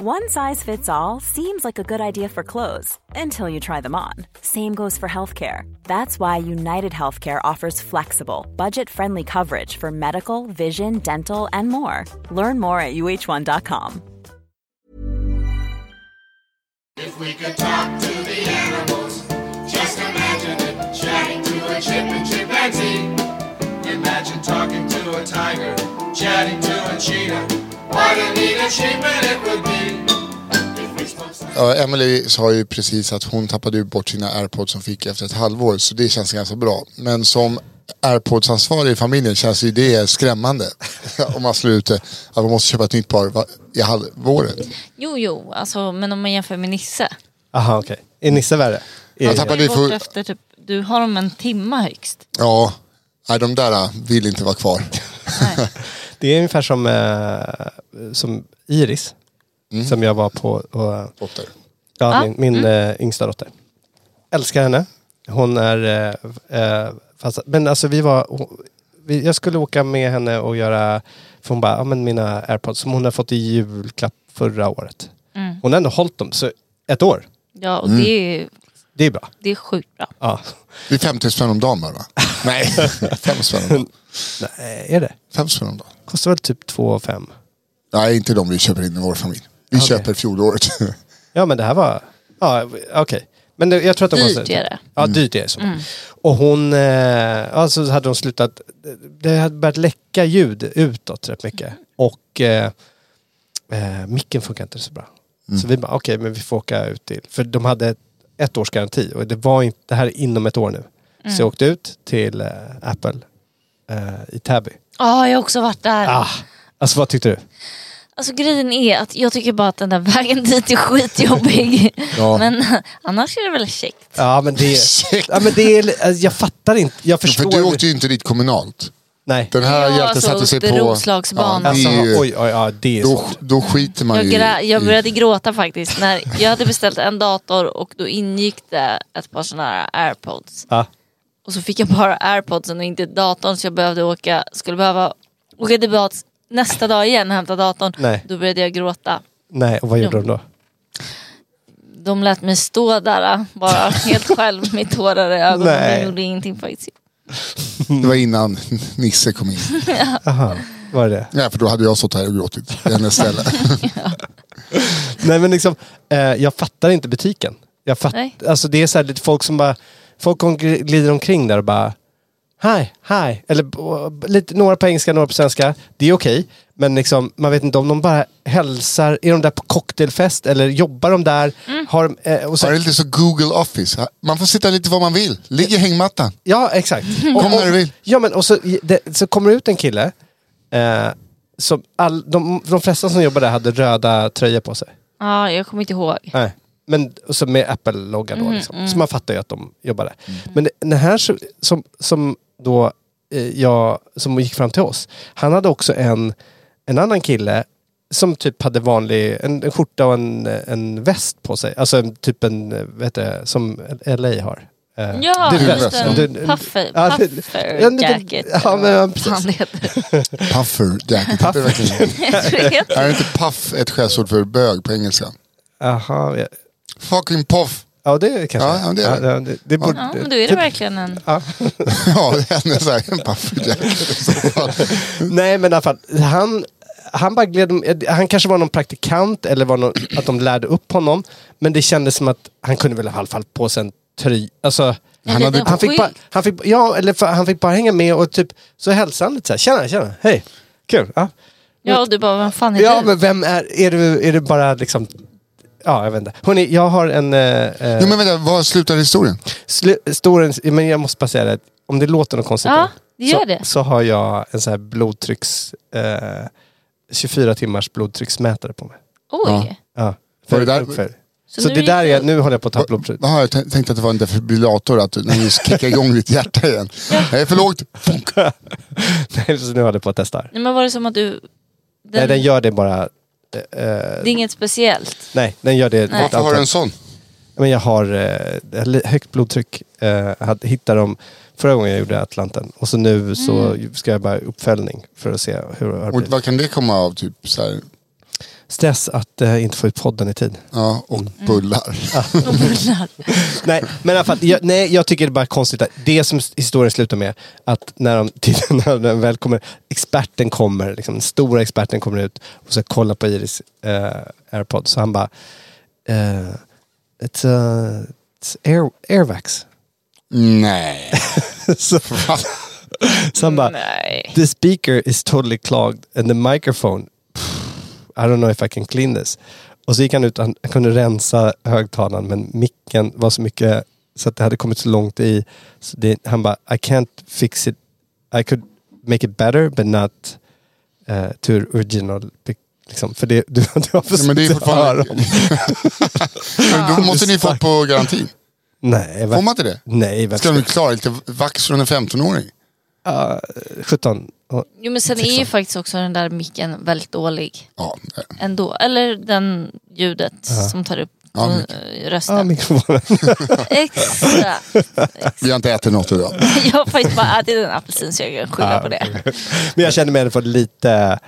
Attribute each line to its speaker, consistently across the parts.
Speaker 1: One size fits all seems like a good idea for clothes until you try them on. Same goes for healthcare. That's why United Healthcare offers flexible, budget friendly coverage for medical, vision, dental, and more. Learn more at uh1.com.
Speaker 2: If we could talk to the animals, just imagine it. Chatting to a chip and chimpanzee. Imagine talking to a tiger, chatting to a cheetah. What an neat achievement it would be. If we spoke some-
Speaker 3: Ja, Emily sa ju precis att hon tappade ju bort sina airpods som fick efter ett halvår så det känns ganska bra. Men som airpods-ansvarig i familjen känns ju det skrämmande. om man slår ut det. Att man måste köpa ett nytt par va- i halvåret.
Speaker 4: Jo, jo, alltså, men om man jämför med Nisse.
Speaker 5: Aha, okej. Är Nisse värre?
Speaker 3: Jag
Speaker 4: Du,
Speaker 3: tappade
Speaker 4: är
Speaker 3: ju
Speaker 4: bort
Speaker 3: för...
Speaker 4: efter, typ, du har dem en timme högst.
Speaker 3: Ja, nej, de där ah, vill inte vara kvar.
Speaker 5: Det är ungefär som, eh, som Iris.
Speaker 3: Mm.
Speaker 5: Som jag var på och
Speaker 3: Dotter.
Speaker 5: Ja,
Speaker 4: Ja.
Speaker 5: min, min eh, yngsta dotter. Älskar henne. Hon är... Eh, eh, fast, men alltså vi var... hon- Vi, jag skulle åka med henne och göra... För hon bara, ja men mina airpods som hon har fått i julklapp förra året. Hon har ändå hållit dem, så ett år.
Speaker 4: Ja,
Speaker 3: Mm.
Speaker 4: och det, är,
Speaker 5: Det är bra.
Speaker 4: det är sjukt bra.
Speaker 5: Ja.
Speaker 3: Det är 50 spänn om dagen va? Nej, 5 spänn om dagen.
Speaker 5: Nej, är det?
Speaker 3: 5 spänn om dagen.
Speaker 5: Kostar väl typ 2 5.
Speaker 3: Nej, inte de vi köper in i vår familj. Vi
Speaker 5: Okej.
Speaker 3: köper fjolåret.
Speaker 5: Ja men det här var... Ja, okej. Men det, jag tror att de
Speaker 4: Dyrt
Speaker 5: var så-
Speaker 4: är det. Mm.
Speaker 5: Ja, dyrt är det. Så. Och hon... Eh, alltså så hade de slutat... Det hade börjat läcka ljud utåt rätt mycket. Och eh, eh, micken funkar inte så bra.
Speaker 3: Mm.
Speaker 5: Så vi bara, okej men vi får åka ut till... För de hade ett, ett års garanti och det var inte... Det här är inom ett år nu.
Speaker 4: Mm.
Speaker 5: Så jag åkte ut till eh, Apple eh, i Täby.
Speaker 4: Ja, jag har också varit där.
Speaker 5: Ah, alltså vad tyckte du?
Speaker 4: Alltså grejen är att jag tycker bara att den där vägen dit är skitjobbig.
Speaker 3: Ja.
Speaker 4: Men annars är det väl käckt.
Speaker 5: Ja men det... ja, men det är, li- alltså, jag fattar inte. Jag förstår.
Speaker 3: För du
Speaker 5: hur-
Speaker 3: åkte ju inte dit kommunalt.
Speaker 5: Nej.
Speaker 3: Den här
Speaker 4: Ja,
Speaker 3: hjälten
Speaker 4: alltså,
Speaker 3: satte sig
Speaker 4: det
Speaker 3: på...
Speaker 4: Roslagsbanan.
Speaker 3: Ja,
Speaker 5: Alltså,
Speaker 3: det är ju,
Speaker 5: oj, oj, oj, det är
Speaker 3: då,
Speaker 5: svårt.
Speaker 3: då skiter man
Speaker 4: Jag,
Speaker 3: ju
Speaker 4: grä,
Speaker 3: i-
Speaker 4: jag
Speaker 3: i-
Speaker 4: började gråta faktiskt. När jag hade beställt en dator och då ingick det ett par sådana här airpods.
Speaker 5: Ja.
Speaker 4: Och så fick jag bara airpodsen och inte datorn så jag behövde åka, skulle behöva åka tillbaka nästa dag igen och hämta datorn.
Speaker 5: Nej.
Speaker 4: Då började jag gråta.
Speaker 5: Nej, och vad gjorde de då?
Speaker 4: De lät mig stå där äh, bara helt själv med tårar i ögonen.
Speaker 5: Nej.
Speaker 4: Jag gjorde ingenting faktiskt.
Speaker 3: Det var innan Nisse kom in.
Speaker 5: Aha, var det det?
Speaker 3: Nej, för då hade jag stått här och gråtit i hennes ställe.
Speaker 5: Nej men liksom, eh, jag fattar inte butiken. Jag fatt,
Speaker 4: Nej.
Speaker 5: alltså det är så här lite folk som bara, folk om- glider omkring där och bara Hi, hi. Eller b- lite, några på engelska, några på svenska. Det är okej. Men liksom, man vet inte om de bara hälsar. Är de där på cocktailfest eller jobbar de där?
Speaker 4: Mm.
Speaker 5: Har de, eh, och
Speaker 3: Så
Speaker 5: så,
Speaker 3: det är lite så Google Office. Man får sitta lite var man vill. Ligg i hängmattan.
Speaker 5: Ja, exakt.
Speaker 3: Kom när du vill.
Speaker 5: Ja, men och så, det, så kommer det ut en kille. Eh, som all, de, de flesta som jobbar där hade röda tröjor på sig.
Speaker 4: Ja, jag kommer inte ihåg.
Speaker 5: Nej. Men och så med Apple-loggan då. liksom. Så man fattar ju att de jobbar där. Men det- den här så- som, som då eh, jag, som gick fram till oss. Han hade också en, en annan kille som typ hade vanlig, en, en skjorta och en, en väst på sig. Alltså en- typ en, eh, vad heter det, som LA har. Eh,
Speaker 4: Ja,
Speaker 3: Du
Speaker 4: just
Speaker 3: vet,
Speaker 4: det.
Speaker 3: ja.
Speaker 5: Du-
Speaker 4: Puffer,
Speaker 5: Ja, det-
Speaker 4: puffer
Speaker 5: en liten-
Speaker 4: jacket.
Speaker 5: Ja, men, ja,
Speaker 4: Fan,
Speaker 5: precis.
Speaker 4: det heter.
Speaker 3: Puffer jacket. Det är, verkligen-
Speaker 4: Det heter-
Speaker 3: är inte puff ett skällsord för bög på engelska?
Speaker 5: Aha, ja.
Speaker 3: Fucking puff.
Speaker 5: Ja, det kanske
Speaker 3: Ja, ja, det är det.
Speaker 5: Ja, det, det borde,
Speaker 4: Ja, men då är det verkligen en...
Speaker 3: Ja, det är så här, en puffer jacket. i så fall.
Speaker 5: Nej, men i alla fall. Han, han, bara gled, eh, han kanske var någon praktikant eller var någon, att de lärde upp honom. Men det kändes som att han kunde väl i alla fall på sig en tröja. Alltså,
Speaker 4: En liten
Speaker 5: han, fick bara,
Speaker 4: skylt.
Speaker 5: han, fick, ja, eller för, han fick bara hänga med och typ så hälsade han lite så här. Tjena, tjena, hej, kul. Ja,
Speaker 4: Ja, och du bara, vem fan är
Speaker 5: ja
Speaker 4: du?
Speaker 5: men vem är, är du, är du bara liksom, ja jag vet inte. Hörrni, jag har en... eh, eh,
Speaker 3: Jo, men vänta, var slutar historien?
Speaker 5: Slu- Stor, men jag måste bara säga det, om det låter något konstigt
Speaker 4: Ja,
Speaker 5: nu,
Speaker 4: det gör
Speaker 5: så,
Speaker 4: det.
Speaker 5: så har jag en sån här blodtrycks... Eh, 24 timmars blodtrycksmätare på mig.
Speaker 4: Oj.
Speaker 3: Ja.
Speaker 5: Ja.
Speaker 3: Var det där-
Speaker 5: För.
Speaker 4: Så
Speaker 5: Så,
Speaker 4: nu
Speaker 5: det
Speaker 4: är
Speaker 5: där
Speaker 4: det-
Speaker 5: är, nu håller jag på att tappa blodtryck.
Speaker 3: Jaha, jag tän- tänkte att det var en defibrillator, att du när du kickar igång ditt hjärta igen. Nej, för lågt.
Speaker 5: Nej, så nu håller jag på att testa. här.
Speaker 4: Nej, men var det som att du... Den,
Speaker 5: Nej, den gör det bara... eh,
Speaker 4: Det är inget speciellt.
Speaker 5: Nej, den gör det...
Speaker 4: Nej.
Speaker 5: ett
Speaker 3: Varför har
Speaker 5: antal-
Speaker 3: du en sån?
Speaker 5: Men jag har eh, jag har li- högt blodtryck. Eh, hade- hittade dem förra gången jag gjorde Atlanten. Och så nu så
Speaker 4: Mm.
Speaker 5: ska jag bara uppföljning för att se hur det har
Speaker 3: Och
Speaker 5: blivit.
Speaker 3: vad kan det komma av? Typ så här,
Speaker 5: Stress att eh, inte få ut podden i tid.
Speaker 3: ja, och bullar.
Speaker 4: Och bullar.
Speaker 5: nej, men i alla fall, jag, nej, jag tycker det är bara konstigt. Att det som s- historien slutar med, att när de, tiden när den väl kommer, experten kommer, liksom, den stora experten kommer ut och ska kolla på Iris eh, airpod. Så han bara, eh, it's, a, it's air, airvax.
Speaker 3: Nej.
Speaker 5: så, så han bara,
Speaker 4: Nej.
Speaker 5: The speaker is totally clogged and the microphone, pff, I don't know if I can clean this. Och så gick han ut, han han kunde rensa högtalaren men micken var så mycket så att det hade kommit så långt i. Så det, han bara, I can't fix it. I could make it better but not eh, to original. pic- Liksom, för det, du, du har
Speaker 3: Ja, men det är
Speaker 5: försökt höra.
Speaker 3: fortfarande... Men då måste ni få på garantin.
Speaker 5: Nej,
Speaker 3: Får
Speaker 5: var,
Speaker 3: man inte det?
Speaker 5: nej varför?
Speaker 3: Ska de klara lite vax från en 15-åring?
Speaker 5: Ja, 17. Och,
Speaker 4: Jo
Speaker 5: Typ
Speaker 4: men sen är ju faktiskt också den där micken väldigt dålig
Speaker 3: Ja. nej.
Speaker 4: ändå. Eller den ljudet som tar upp
Speaker 3: Ja,
Speaker 4: eh,
Speaker 5: ah,
Speaker 4: rösten.
Speaker 5: mikrofonen.
Speaker 4: Exakt.
Speaker 3: Vi har inte ätit något idag.
Speaker 4: Jag har faktiskt bara ätit en apelsin så jag kan skylla på det.
Speaker 5: Men jag kände mig ändå för lite...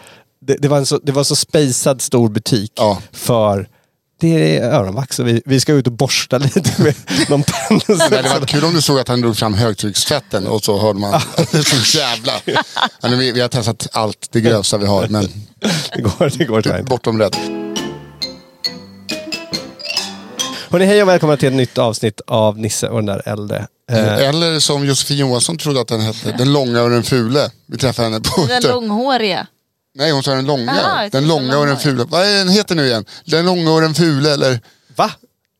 Speaker 5: Det, det, var en så, det var en så spejsad stor butik
Speaker 3: Ja.
Speaker 5: för... Det är öronvax och vi, vi ska ut och borsta lite med någon penna.
Speaker 3: Det hade varit kul om du såg att han drog fram högtryckstvätten och så hörde man det så jävla... Ja, nu, vi, vi har testat allt det grövsta vi har, men typ
Speaker 5: Det går, det går tyvärr inte.
Speaker 3: bortom rädd.
Speaker 5: Hörrni, hej och välkomna till ett nytt avsnitt av Nisse och den där äldre. Eh,
Speaker 3: Eller som Josefin Johansson trodde att den hette, den långa och den fule. Vi träffade henne på...
Speaker 4: Den långhåriga.
Speaker 3: Nej, hon sa den långa.
Speaker 4: Ah, jag
Speaker 3: den
Speaker 4: tänkte
Speaker 3: långa och den
Speaker 4: långhårig.
Speaker 3: fula. Vad är den heter nu igen? Den långa och den fula eller?
Speaker 5: va?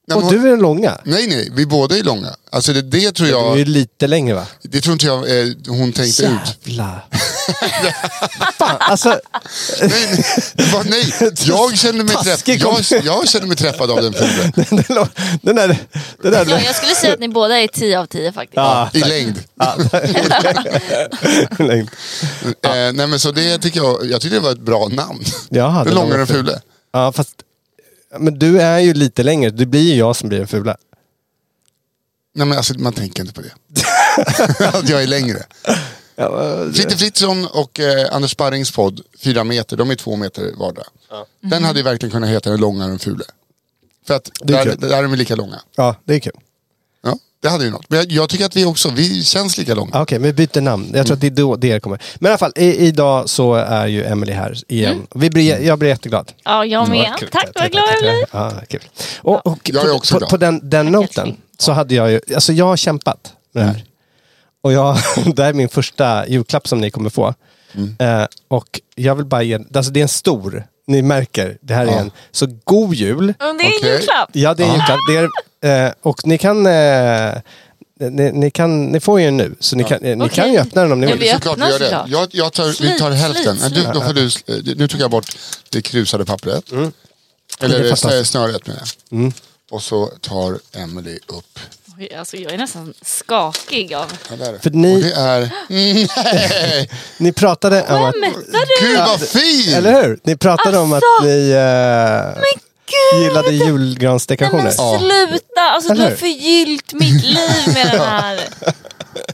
Speaker 3: Nej,
Speaker 5: Och
Speaker 3: men-
Speaker 5: du är den långa?
Speaker 3: Nej, nej, vi båda är långa. Alltså det, det tror
Speaker 5: Du är ju
Speaker 3: jag,
Speaker 5: lite längre va?
Speaker 3: det tror inte jag eh, hon tänkte ut.
Speaker 5: Jävlar. Fan, alltså,
Speaker 3: Nej, nej, det var, nej. Jag, kände mig träff,
Speaker 5: Taskig
Speaker 3: jag,
Speaker 5: kompis.
Speaker 3: jag kände mig träffad av den fula.
Speaker 5: den, den, den där... Den där
Speaker 4: Ja, jag skulle säga att ni båda är 10 av 10 faktiskt.
Speaker 5: ah,
Speaker 3: I längd.
Speaker 5: längd.
Speaker 3: Eh, nej men så det tycker jag, jag tycker det var ett bra namn.
Speaker 5: Jaha,
Speaker 3: den
Speaker 5: den
Speaker 3: långa och den
Speaker 5: långa
Speaker 3: fula.
Speaker 5: Ja, fast... Men du är ju lite längre. Det blir ju jag som blir den fula.
Speaker 3: Nej men alltså man tänker inte på det. Att jag är längre. Fritte Fritzson och eh, Anders Sparrings podd, Fyra meter, de är två meter vardera. Den hade ju verkligen kunnat heta Den långa och den fule. För att
Speaker 5: Det är
Speaker 3: där,
Speaker 5: kul.
Speaker 3: där är de lika långa.
Speaker 5: Ja, det är kul.
Speaker 3: Ja, det hade ju något. Men jag, jag tycker att vi också, vi känns lika långa.
Speaker 5: Ah, Okej, men vi byter namn. Jag tror att det är då det kommer. Men i alla fall, i, idag så är ju Emily här igen. Vi blir, jag blir jätteglad.
Speaker 4: Ja, jag med.
Speaker 5: kul.
Speaker 4: Mm. Tack, vad glad jag blir.
Speaker 5: Ja, kul. Och, och
Speaker 3: Jag är också
Speaker 5: på, på,
Speaker 3: glad.
Speaker 5: på den, den noten
Speaker 4: Älskling.
Speaker 5: så hade jag ju, alltså jag har kämpat med det här. Och jag, det här är min första julklapp som ni kommer få. Eh, och jag vill bara ge, alltså det är en stor, ni märker, det här
Speaker 3: Ja.
Speaker 5: är en, så god jul.
Speaker 4: Men det är
Speaker 3: Okej.
Speaker 4: en julklapp.
Speaker 5: Ja, det är julklapp. Det är, eh, och ni kan, eh, ni, ni kan... Ni får ju en nu, så ni kan, eh, ni
Speaker 4: Okej.
Speaker 5: kan ju öppna den om ni
Speaker 4: Ja,
Speaker 5: vill.
Speaker 4: vi har-
Speaker 3: Såklart vi
Speaker 4: öppnar
Speaker 3: gör det.
Speaker 4: såklart.
Speaker 3: Jag, jag tar, vi tar
Speaker 4: Slit,
Speaker 3: hälften.
Speaker 4: slit,
Speaker 3: Du, då får du, nu tog jag bort det krusade pappret.
Speaker 5: Mm. Det är
Speaker 3: Eller
Speaker 5: fantastiskt. Mm.
Speaker 3: eh, snöret menar jag. Och så tar Emily upp.
Speaker 4: Oj, Alltså, jag är nästan skakig av...
Speaker 3: Ja, där är det.
Speaker 5: För ni-
Speaker 3: Och det är... Nej!
Speaker 5: Ni pratade om att...
Speaker 4: Skämtar du?
Speaker 3: Gud vad fin!
Speaker 5: Eller hur? Ni pratade om att
Speaker 4: Alltså!
Speaker 5: ni eh,
Speaker 4: Men gud!
Speaker 5: gillade
Speaker 4: Nej men
Speaker 5: julgransdekorationer.
Speaker 4: sluta! Alltså du
Speaker 5: Eller
Speaker 4: har
Speaker 5: hur?
Speaker 4: förgyllt mitt liv med den här.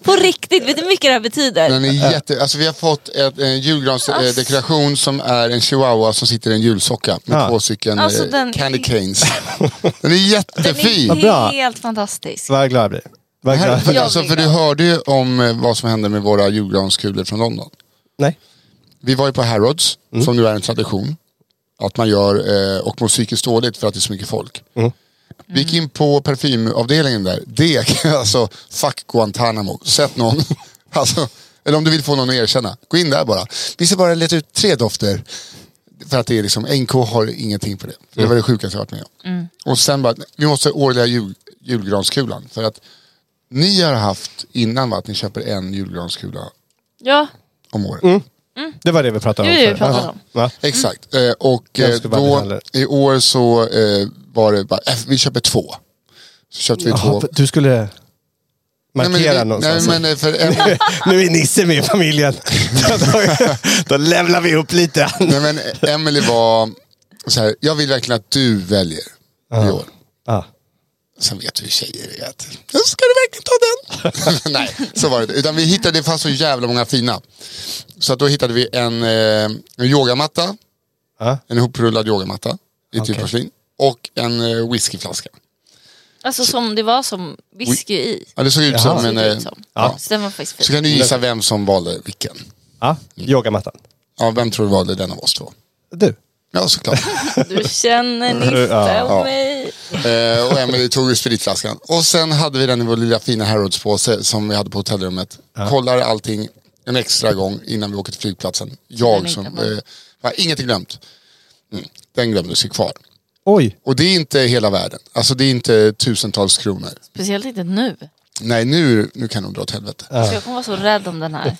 Speaker 4: På riktigt, vet du hur mycket det här betyder?
Speaker 3: Den är jätte... Alltså vi har fått ett, en julgransdekoration som är en chihuahua som sitter i en julsocka med
Speaker 5: Ja.
Speaker 3: två stycken
Speaker 4: Alltså,
Speaker 3: eh,
Speaker 4: den-
Speaker 3: candy canes. Den är
Speaker 4: Den
Speaker 3: jättefin!
Speaker 5: Vad bra.
Speaker 4: är helt fantastisk.
Speaker 5: Vad glad jag blir. Vad glad
Speaker 3: Här,
Speaker 5: jag blir.
Speaker 3: för, alltså, för du hörde ju om eh, vad som hände med våra julgranskulor från London.
Speaker 5: Nej.
Speaker 3: Vi var ju på Harrods, som nu är en tradition. Att man gör, eh, och mår psykiskt dåligt för att det är så mycket folk. Vi gick in på parfymavdelningen där. Det, kan jag- alltså, fuck Guantanamo. Sätt någon, alltså, eller om du vill få någon att erkänna. Gå in där bara. Vi ska bara leta ut tre dofter. För att det är liksom, NK har ingenting på det. Det var det sjukaste jag varit med om. Och sen bara, vi måste ha årliga jul, julgranskulan. För att ni har haft innan va, att ni köper en julgranskula
Speaker 4: Ja,
Speaker 3: om året.
Speaker 5: Det var det vi pratade om
Speaker 4: Det var det
Speaker 5: förut.
Speaker 4: vi pratade om.
Speaker 5: Va?
Speaker 3: Exakt. Eh, och eh,
Speaker 5: Mm. Jag skulle bara
Speaker 3: då,
Speaker 5: behandla
Speaker 3: i år så eh, var det bara, eh, vi köper två. Så köpte vi
Speaker 5: Jaha,
Speaker 3: två.
Speaker 5: för- du skulle markera
Speaker 3: nej, men,
Speaker 5: någonstans.
Speaker 3: Nej, men eh, för en,
Speaker 5: Nu är Nisse med i familjen. Då, då levlar vi upp lite.
Speaker 3: nej, men eh, Emily var så här, jag vill verkligen att du väljer i år.
Speaker 5: Ah.
Speaker 3: Sen vet du hur tjejer är. Att, "Nu ska du verkligen ta den? Nej, så var det inte. Utan vi hittade, det fanns så jävla många fina. Så att då hittade vi en, eh, en yogamatta.
Speaker 5: Ja.
Speaker 3: En hoprullad yogamatta i typ
Speaker 5: Okej.
Speaker 3: porslin. Och en eh, whiskyflaska.
Speaker 4: Alltså som det var som whisky i.
Speaker 3: Ja, det såg ut
Speaker 5: Jaha.
Speaker 3: som
Speaker 4: såg
Speaker 3: en...
Speaker 4: det ut
Speaker 3: eh,
Speaker 4: som.
Speaker 3: ja.
Speaker 4: Så den var faktiskt
Speaker 3: Så
Speaker 4: fin.
Speaker 3: kan du gissa vem som valde vilken.
Speaker 5: Ah. Yogamattan.
Speaker 3: Ja, vem tror du valde den av oss två?
Speaker 5: Du.
Speaker 3: Ja, såklart.
Speaker 4: Du känner Nisse och mig.
Speaker 3: eh, och Emelie tog ju spritflaskan. Och sen hade vi den i vår lilla fina Harrodspåse som vi hade på hotellrummet. Kollar allting en extra gång innan vi åker till flygplatsen.
Speaker 4: Den
Speaker 3: Jag
Speaker 4: är
Speaker 3: som...
Speaker 4: inte med.
Speaker 3: Eh, va, inget är glömt. Mm, den glömdes ju kvar.
Speaker 5: Oj.
Speaker 3: Och det är inte hela världen. Alltså det är inte tusentals kronor.
Speaker 4: Speciellt inte nu.
Speaker 3: Nej, nu, nu kan de dra åt helvete.
Speaker 4: Så jag kommer vara så rädd om den här.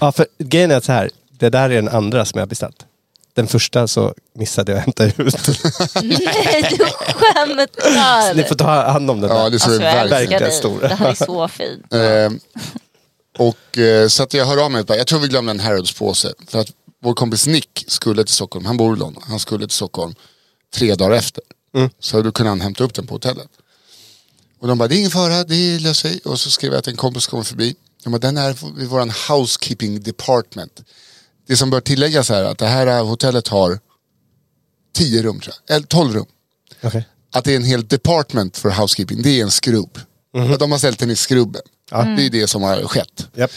Speaker 5: Ja, för grejen är så här. Det där är den andra som jag har beställt. Den första så missade jag att hämta ut.
Speaker 4: Nej, du skämtar!
Speaker 5: Ni får ta hand om den
Speaker 3: Ja,
Speaker 5: där.
Speaker 3: det såg
Speaker 4: Alltså jag älskar
Speaker 3: verkligen
Speaker 5: verkligen
Speaker 4: dig.
Speaker 5: stor.
Speaker 4: Det här är så fint.
Speaker 3: Eh, och eh, så att jag hör av mig. och bara, Jag tror vi glömde en Harrodspåse. För att vår kompis Nick skulle till Stockholm. Han bor i London. Han skulle till Stockholm tre dagar efter. Så då kunde han hämta upp den på hotellet. Och de bara, det är ingen fara, det löser sig. Och så skrev jag att en kompis kommer förbi. De bara, den är vid våran housekeeping department. Det som bör tilläggas är att det här hotellet har tio rum tror jag. Eller tolv rum
Speaker 5: Okej.
Speaker 3: att det är en hel department för housekeeping, det är en skrubb. Att de har ställt den i skrubben. Det är det som har skett.
Speaker 5: Japp.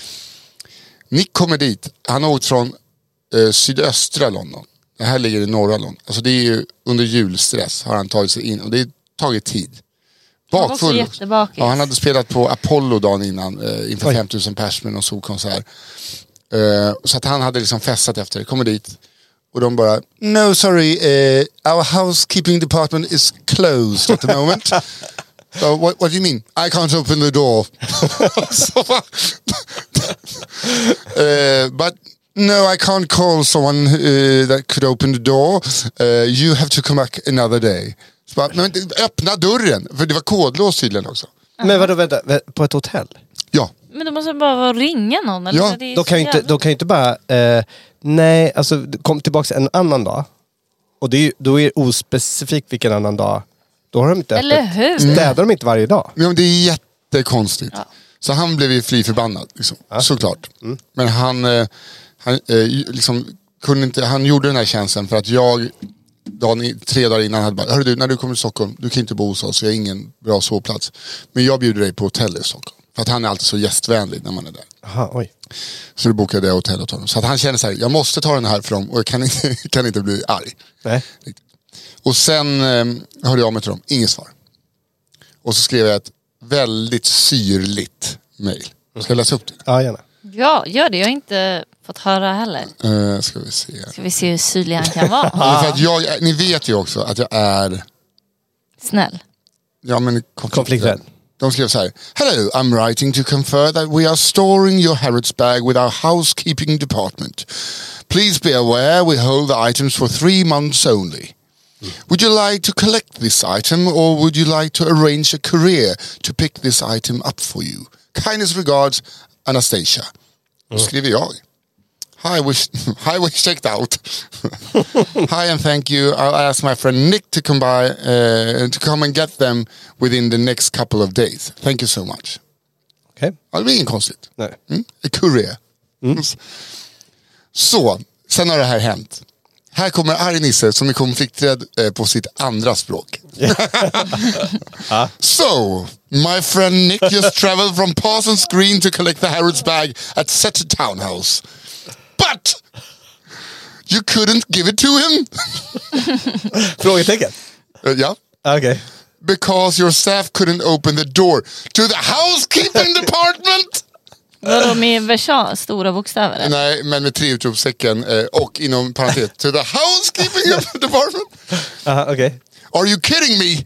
Speaker 3: Nick kommer dit, han har åkt från eh, sydöstra London. Det här ligger i norra London. Alltså det är ju under julstress har han tagit sig in och det har tagit tid.
Speaker 4: var så
Speaker 3: Bakfull. också.
Speaker 4: jättebakis.
Speaker 3: Ja, han hade spelat på Apollo dagen innan eh, inför 5000 pers med någon solkonsert. Eh, så att han hade liksom festat efter det, kommer dit. Och de bara, no sorry, eh, our housekeeping department is closed at the moment. "Oh, what, what do you mean? I can't open the door. Så bara- Eh, but no, I can't call someone eh, that could open the door. Eh, you have to come back another day. Så bara, men öppna dörren! För det var kodlås tydligen också.
Speaker 5: Men vadå, vänta. vä- På ett hotell?
Speaker 3: Ja,
Speaker 4: Men då måste jag bara vara ringa någon. Eller?
Speaker 3: Ja,
Speaker 4: Det är
Speaker 5: Då
Speaker 4: så
Speaker 5: kan ju inte,
Speaker 4: jävla-
Speaker 5: då kan ju inte bara... Eh, nej, alltså kom tillbaka en annan dag. Och det är, ju- då är det ospecifikt vilken annan dag. Då har de inte
Speaker 4: Eller
Speaker 5: öppet.
Speaker 4: hur?
Speaker 3: Mm.
Speaker 5: Städar de inte varje dag?
Speaker 3: men det är jättekonstigt. Så han blev ju fly förbannad, liksom, såklart. Men han, eh, han, eh, ju- liksom, kunde inte, han gjorde den här tjänsten för att jag dagen, i- tre dagar innan hade bara, hörru du, när du kommer till Stockholm, du kan inte bo hos oss, vi har ingen bra sovplats. Men jag bjuder dig på hotell i Stockholm. För att han är alltid så gästvänlig när man är där.
Speaker 5: Jaha, oj.
Speaker 3: Så då bokade jag hotell åt honom. Så att han känner så här, jag måste ta den här för dem och jag kan inte, kan inte bli arg.
Speaker 5: Nej.
Speaker 3: Och sen eh, hörde jag av mig till dem, inget svar. Och så skrev jag ett väldigt syrligt mail. Ska jag läsa upp det?
Speaker 5: Ja, gärna.
Speaker 4: Ja, gör det. Jag har inte fått höra heller.
Speaker 3: Eh, ska vi se.
Speaker 4: Ska vi se hur syrlig han kan vara.
Speaker 3: Ja, För att jag, ni vet ju också att jag är
Speaker 4: Snäll.
Speaker 3: Ja, men konflikträdd.
Speaker 5: Konflikträdd.
Speaker 3: De skrev så här. Hello, I'm writing to confer that we are storing your Harrods bag with our housekeeping department. Please be aware we hold the items for three months only. Would you like to collect this item or would you like to arrange a courier to pick this item up for you? Kindest regards, Anastasia. Då skriver jag. Hi, wish, hi, wish checked out. hi, and thank you. I'll ask my friend Nick to come by uh, to come and get them within the next couple of days. Thank you so much.
Speaker 5: Okej.
Speaker 3: Ja, det blir inget konstigt.
Speaker 5: Nej.
Speaker 3: Mm? A courier. Så, sen har det här hänt. Här kommer arg Nisse som är konflikträdd eh, på sitt andra språk. so, my friend Nick just traveled from Parsons Green to collect the Harrods bag at such a townhouse. But you couldn't give it to him?
Speaker 5: Frågetecken? Ah,
Speaker 3: Eh, ja.
Speaker 5: Okej.
Speaker 3: Because your staff couldn't open the door to the housekeeping department?
Speaker 4: Vadå med versan, stora bokstäver? eller?
Speaker 3: Nej, men med tre utropstecken eh, och inom parentes, to the housekeeping department?
Speaker 5: Aha, okej.
Speaker 3: Are you kidding me?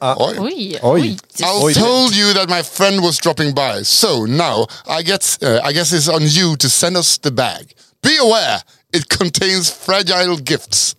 Speaker 3: Oj.
Speaker 4: Oj,
Speaker 5: Oj.
Speaker 4: oj.
Speaker 3: I
Speaker 5: Oj.
Speaker 3: told you that my eh, friend was dropping by, so now I guess uh, I guess it's on you to send us the bag. Be aware, it contains fragile gifts.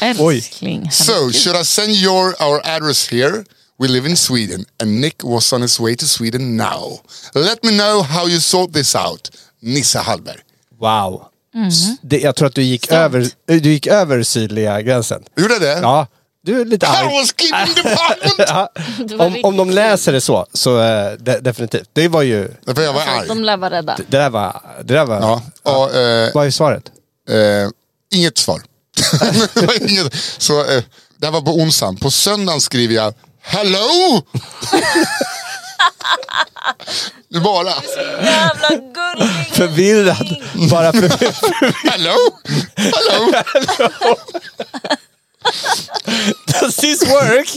Speaker 4: Älskling.
Speaker 3: So,
Speaker 4: herregud.
Speaker 3: should I send your our address here? We live in Sweden, and Nick was on his way to Sweden now. Let me know how you sort this out. Nissa Hallberg.
Speaker 5: Wow.
Speaker 4: Mm.
Speaker 5: S- Det, jag tror att du gick, över, eh, du gick över sydliga gränsen.
Speaker 3: Gjorde jag det?
Speaker 5: Ja, du är lite arg.
Speaker 3: Carol's Keeping Department!
Speaker 5: Ja.
Speaker 4: Det var
Speaker 5: Om, om de
Speaker 4: riktigt
Speaker 5: läser det så, så eh, de, definitivt. Det var ju,
Speaker 3: Därför jag var
Speaker 4: kul. De
Speaker 3: arg.
Speaker 4: lär vara rädda.
Speaker 5: det där var, det där var,
Speaker 3: Ja, och, eh,
Speaker 5: vad är svaret?
Speaker 3: Eh, inget svar. Det var inget. Så, eh, det här var på onsdagen. På söndagen skriver jag Hello! Nu bara
Speaker 4: Jävla gulling.
Speaker 5: Förvirrad. Bara förvirrad.
Speaker 3: Hello! Hello!
Speaker 5: Does this work?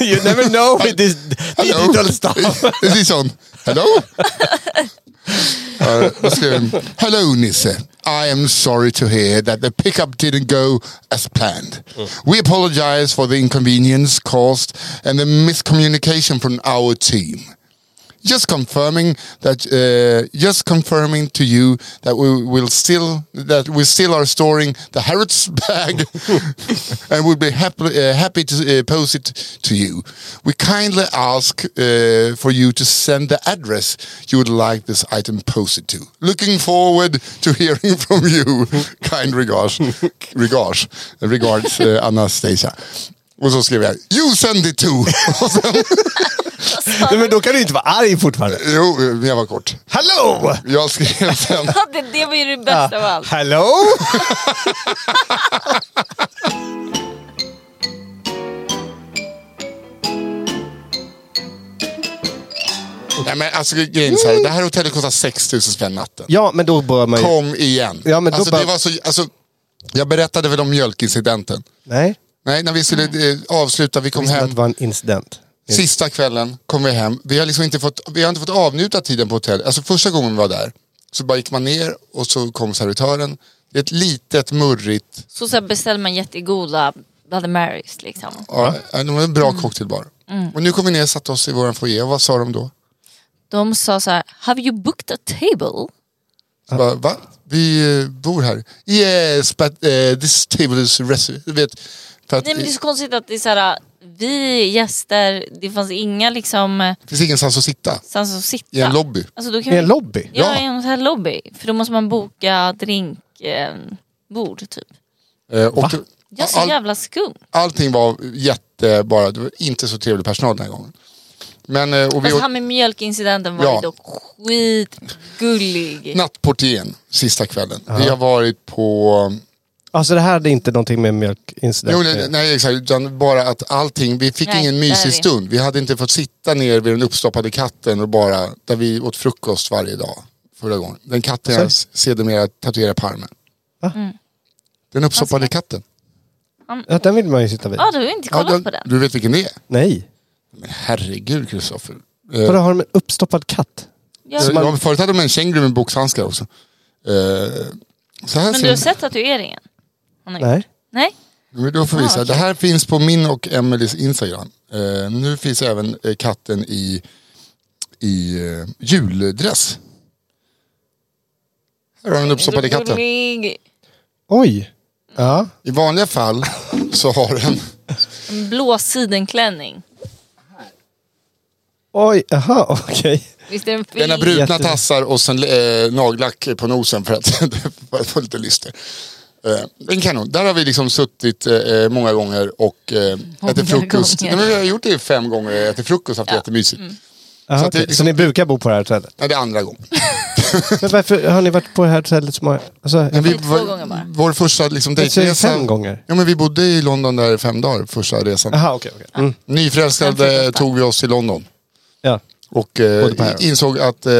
Speaker 5: you never know with this digital stuff.
Speaker 3: Is this on? Hello? Uh, Ja, då skrev jag, Hello Nisse. I am sorry to hear that the pickup didn't go as planned. We apologize for the inconvenience caused and the miscommunication from our team. Just confirming that, uh, just confirming to you that we will still that we still are storing the Harrods bag, and would be happy uh, happy to uh, post it to you. We kindly ask uh, for you to send the address you would like this item posted to. Looking forward to hearing from you. kind regards, regards, regards uh, Anastasia. Och så skrev jag, you send it to. Och sen,
Speaker 5: Nej, men då kan du inte vara arg fortfarande.
Speaker 3: jo, men jag var kort.
Speaker 5: Hello!
Speaker 3: Jag skrev sen,
Speaker 4: Ja, det, det var ju det bästa av allt.
Speaker 5: Hello?
Speaker 3: nej men alltså grejen är så här, det här hotellet kostar 6 000 spänn natten.
Speaker 5: Mm. Ja, men då bör man ju...
Speaker 3: Kom igen.
Speaker 5: Ja, men då
Speaker 3: alltså,
Speaker 5: bara-
Speaker 3: det var så, alltså, jag berättade väl om mjölkincidenten.
Speaker 5: Nej,
Speaker 3: Nej, när vi skulle
Speaker 5: Mm.
Speaker 3: eh, avsluta, vi kom
Speaker 5: det
Speaker 3: hem.
Speaker 5: var en incident.
Speaker 3: Sista kvällen kom vi hem. Vi har liksom inte fått, vi har inte fått avnjuta tiden på hotellet. Alltså första gången vi var där så bara gick man ner och så kom servitören. Det är ett litet murrigt,
Speaker 4: Så, så här beställde man jättegoda Bloody Marys liksom.
Speaker 3: ja. en en bra
Speaker 5: Mm.
Speaker 3: cocktailbar. Och nu kom vi ner och satte oss i våran foyer. Vad sa de då?
Speaker 4: De sa så här, have you booked a table?
Speaker 3: Så bara, va? Vi eh, bor här. Yes, but eh, this table is reserved. Du vet, för att
Speaker 4: Nej men det är så konstigt att det är så här, vi är gäster, det fanns inga liksom eh,
Speaker 3: det finns ingenstans att sitta.
Speaker 4: stans att sitta.
Speaker 3: I en lobby.
Speaker 4: Alltså, då kan
Speaker 5: I en
Speaker 4: vi-
Speaker 5: lobby?
Speaker 4: Ja,
Speaker 3: Ja.
Speaker 4: i en sån här lobby. För då måste man boka drinkbord eh, bord, typ.
Speaker 3: Eh, och
Speaker 4: Ja, så
Speaker 3: all,
Speaker 4: jävla skumt.
Speaker 3: allting var jätte, bara, det var inte så trevlig personal den här gången. Men, eh, och vi
Speaker 4: Alltså
Speaker 3: åt
Speaker 4: han med mjölkincidenten var
Speaker 3: Ja.
Speaker 4: ju dock skitgullig.
Speaker 3: nattportieren sista kvällen. Vi har varit på...
Speaker 5: Alltså det här hade inte någonting med mjölkincident
Speaker 3: Jo, nej, nej, exakt. Utan bara att allting, vi fick
Speaker 4: Nej,
Speaker 3: ingen
Speaker 4: där är
Speaker 3: mysig
Speaker 4: vi.
Speaker 3: stund. Vi hade inte fått sitta ner vid den uppstoppade katten och bara, där vi åt frukost varje dag förra gången. Den katten jag s- sedermera tatuerade på armen.
Speaker 4: Mm.
Speaker 3: Den uppstoppade katten.
Speaker 5: Ja, den vill man ju sitta vid.
Speaker 4: Ja, du har ju inte kollat
Speaker 3: Ja, den-
Speaker 4: på den.
Speaker 3: Du vet vilken det är?
Speaker 5: Nej.
Speaker 3: Men herregud Kristoffer. Eh,
Speaker 5: Vadå, har de en uppstoppad katt?
Speaker 4: Ja.
Speaker 3: Så, ja, men förut hade de en känguru med boxhandskar också. Eh, så här
Speaker 4: Men
Speaker 3: ser
Speaker 4: du har
Speaker 3: den.
Speaker 4: sett tatueringen? Han har gjort.
Speaker 5: Nej.
Speaker 4: Nej?
Speaker 3: Men då får vi
Speaker 4: Ah,
Speaker 3: visa.
Speaker 4: okej.
Speaker 3: Det här finns på min och Emelies Instagram. Eh, nu finns även eh, katten i, i eh, juldress. Här har den uppstoppade katten.
Speaker 4: Gullig.
Speaker 5: Oj. Ja.
Speaker 3: I vanliga fall så har den...
Speaker 4: En blå sidenklänning.
Speaker 5: Oj, aha, okej.
Speaker 4: Visst är den fin?
Speaker 3: Den har brutna
Speaker 5: Jätte-
Speaker 3: tassar och sen eh, nagellack på nosen för att, för att få lite lyster. Eh, en kanon. Där har vi liksom suttit eh, många gånger och eh, ätit frukost.
Speaker 4: gånger. Mm.
Speaker 3: Nej, men vi har gjort det fem gånger, ätit frukost och haft det jättemysigt.
Speaker 5: Aha,
Speaker 3: Så
Speaker 5: så,
Speaker 3: att det liksom-
Speaker 5: så ni brukar bo på det här hotellet?
Speaker 3: Nej, det är andra gången.
Speaker 5: Men varför har ni varit på det här hotellet så många... Alltså,
Speaker 3: Men vi,
Speaker 4: två
Speaker 3: var-
Speaker 4: gånger bara.
Speaker 3: Vår första liksom,
Speaker 5: jag säger
Speaker 3: dejtresa.
Speaker 5: fem gånger.
Speaker 3: Ja, men vi bodde i London där i fem dagar första resan.
Speaker 5: Aha, okej. okej. Mm.
Speaker 3: Nyförälskade eh, tog vi oss till London.
Speaker 5: Ja.
Speaker 3: Och eh,
Speaker 5: Både på här.
Speaker 3: insåg att eh,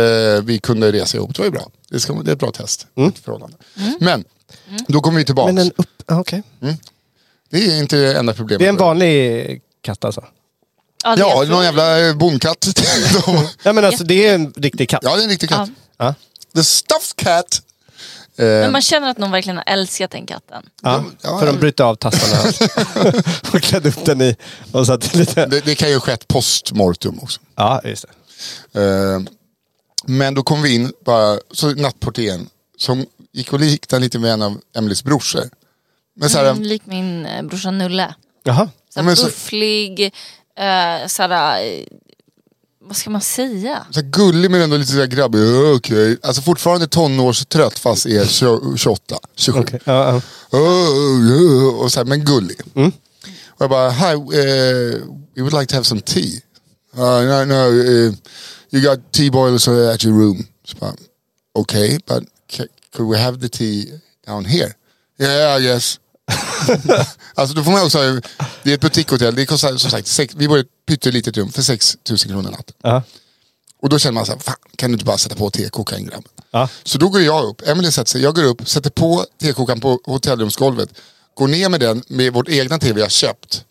Speaker 3: vi kunde resa ihop. Det var ju bra. Det, ska, det är ett bra test. Ett förhållande. Men, då kommer vi tillbaka.
Speaker 5: Mm. Men en upp... Ja, okej.
Speaker 3: Mm. Det är inte det enda problemet.
Speaker 5: Det är en vanlig katt alltså?
Speaker 4: Ja, det
Speaker 3: Ja,
Speaker 4: är
Speaker 3: det är någon jävla eh, bonkatt. De-
Speaker 5: Ja, men alltså det är en riktig katt?
Speaker 3: ja, det är en riktig katt.
Speaker 5: Ja.
Speaker 3: The stuffed cat. Eh,
Speaker 4: Men man känner att någon verkligen har älskat den katten.
Speaker 5: Ja,
Speaker 3: Ja,
Speaker 5: för
Speaker 3: ja.
Speaker 5: de bryter av tassarna och klädde upp den i och satte lite...
Speaker 3: Det, det kan ju ha skett post mortum också.
Speaker 5: Ja, just det.
Speaker 3: Eh, Men då kom vi in, bara, så nattportieren som gick och liknade lite med en av Emelies brorsor. Men så här,
Speaker 4: Mm, lik min eh, brorsa Nulle.
Speaker 5: Jaha.
Speaker 4: Så här
Speaker 3: Men så-
Speaker 4: bufflig, eh, så här, eh, vad ska man säga?
Speaker 3: så här gullig men ändå lite så här grabbig. Okej. Alltså fortfarande tonårstrött fast är tjo- 28, 27.
Speaker 5: Okej. Ja, ja.
Speaker 3: Oh, oh, oh, och så här, men gullig. Och jag bara, hi, eh, we would like to have some tea. Uh, no, no, eh, you got tea boilers uh, at your room. Så bara, okay, but ca- could we have the tea down here? Yeah, yes. alltså då får man också, det är ett butikhotell, det kostar som sagt, sex, vi bor i ett pyttelitet rum för 6 000 kronor natten.
Speaker 5: Ja.
Speaker 3: Och då känner man så här, fan kan du inte bara sätta på tekokaren grabben?
Speaker 5: Ja.
Speaker 3: Så då går jag upp, Emelie sätter sig, jag går upp, sätter på tekokaren på hotellrumsgolvet. Går ner med den med vårt egna tv jag köpt.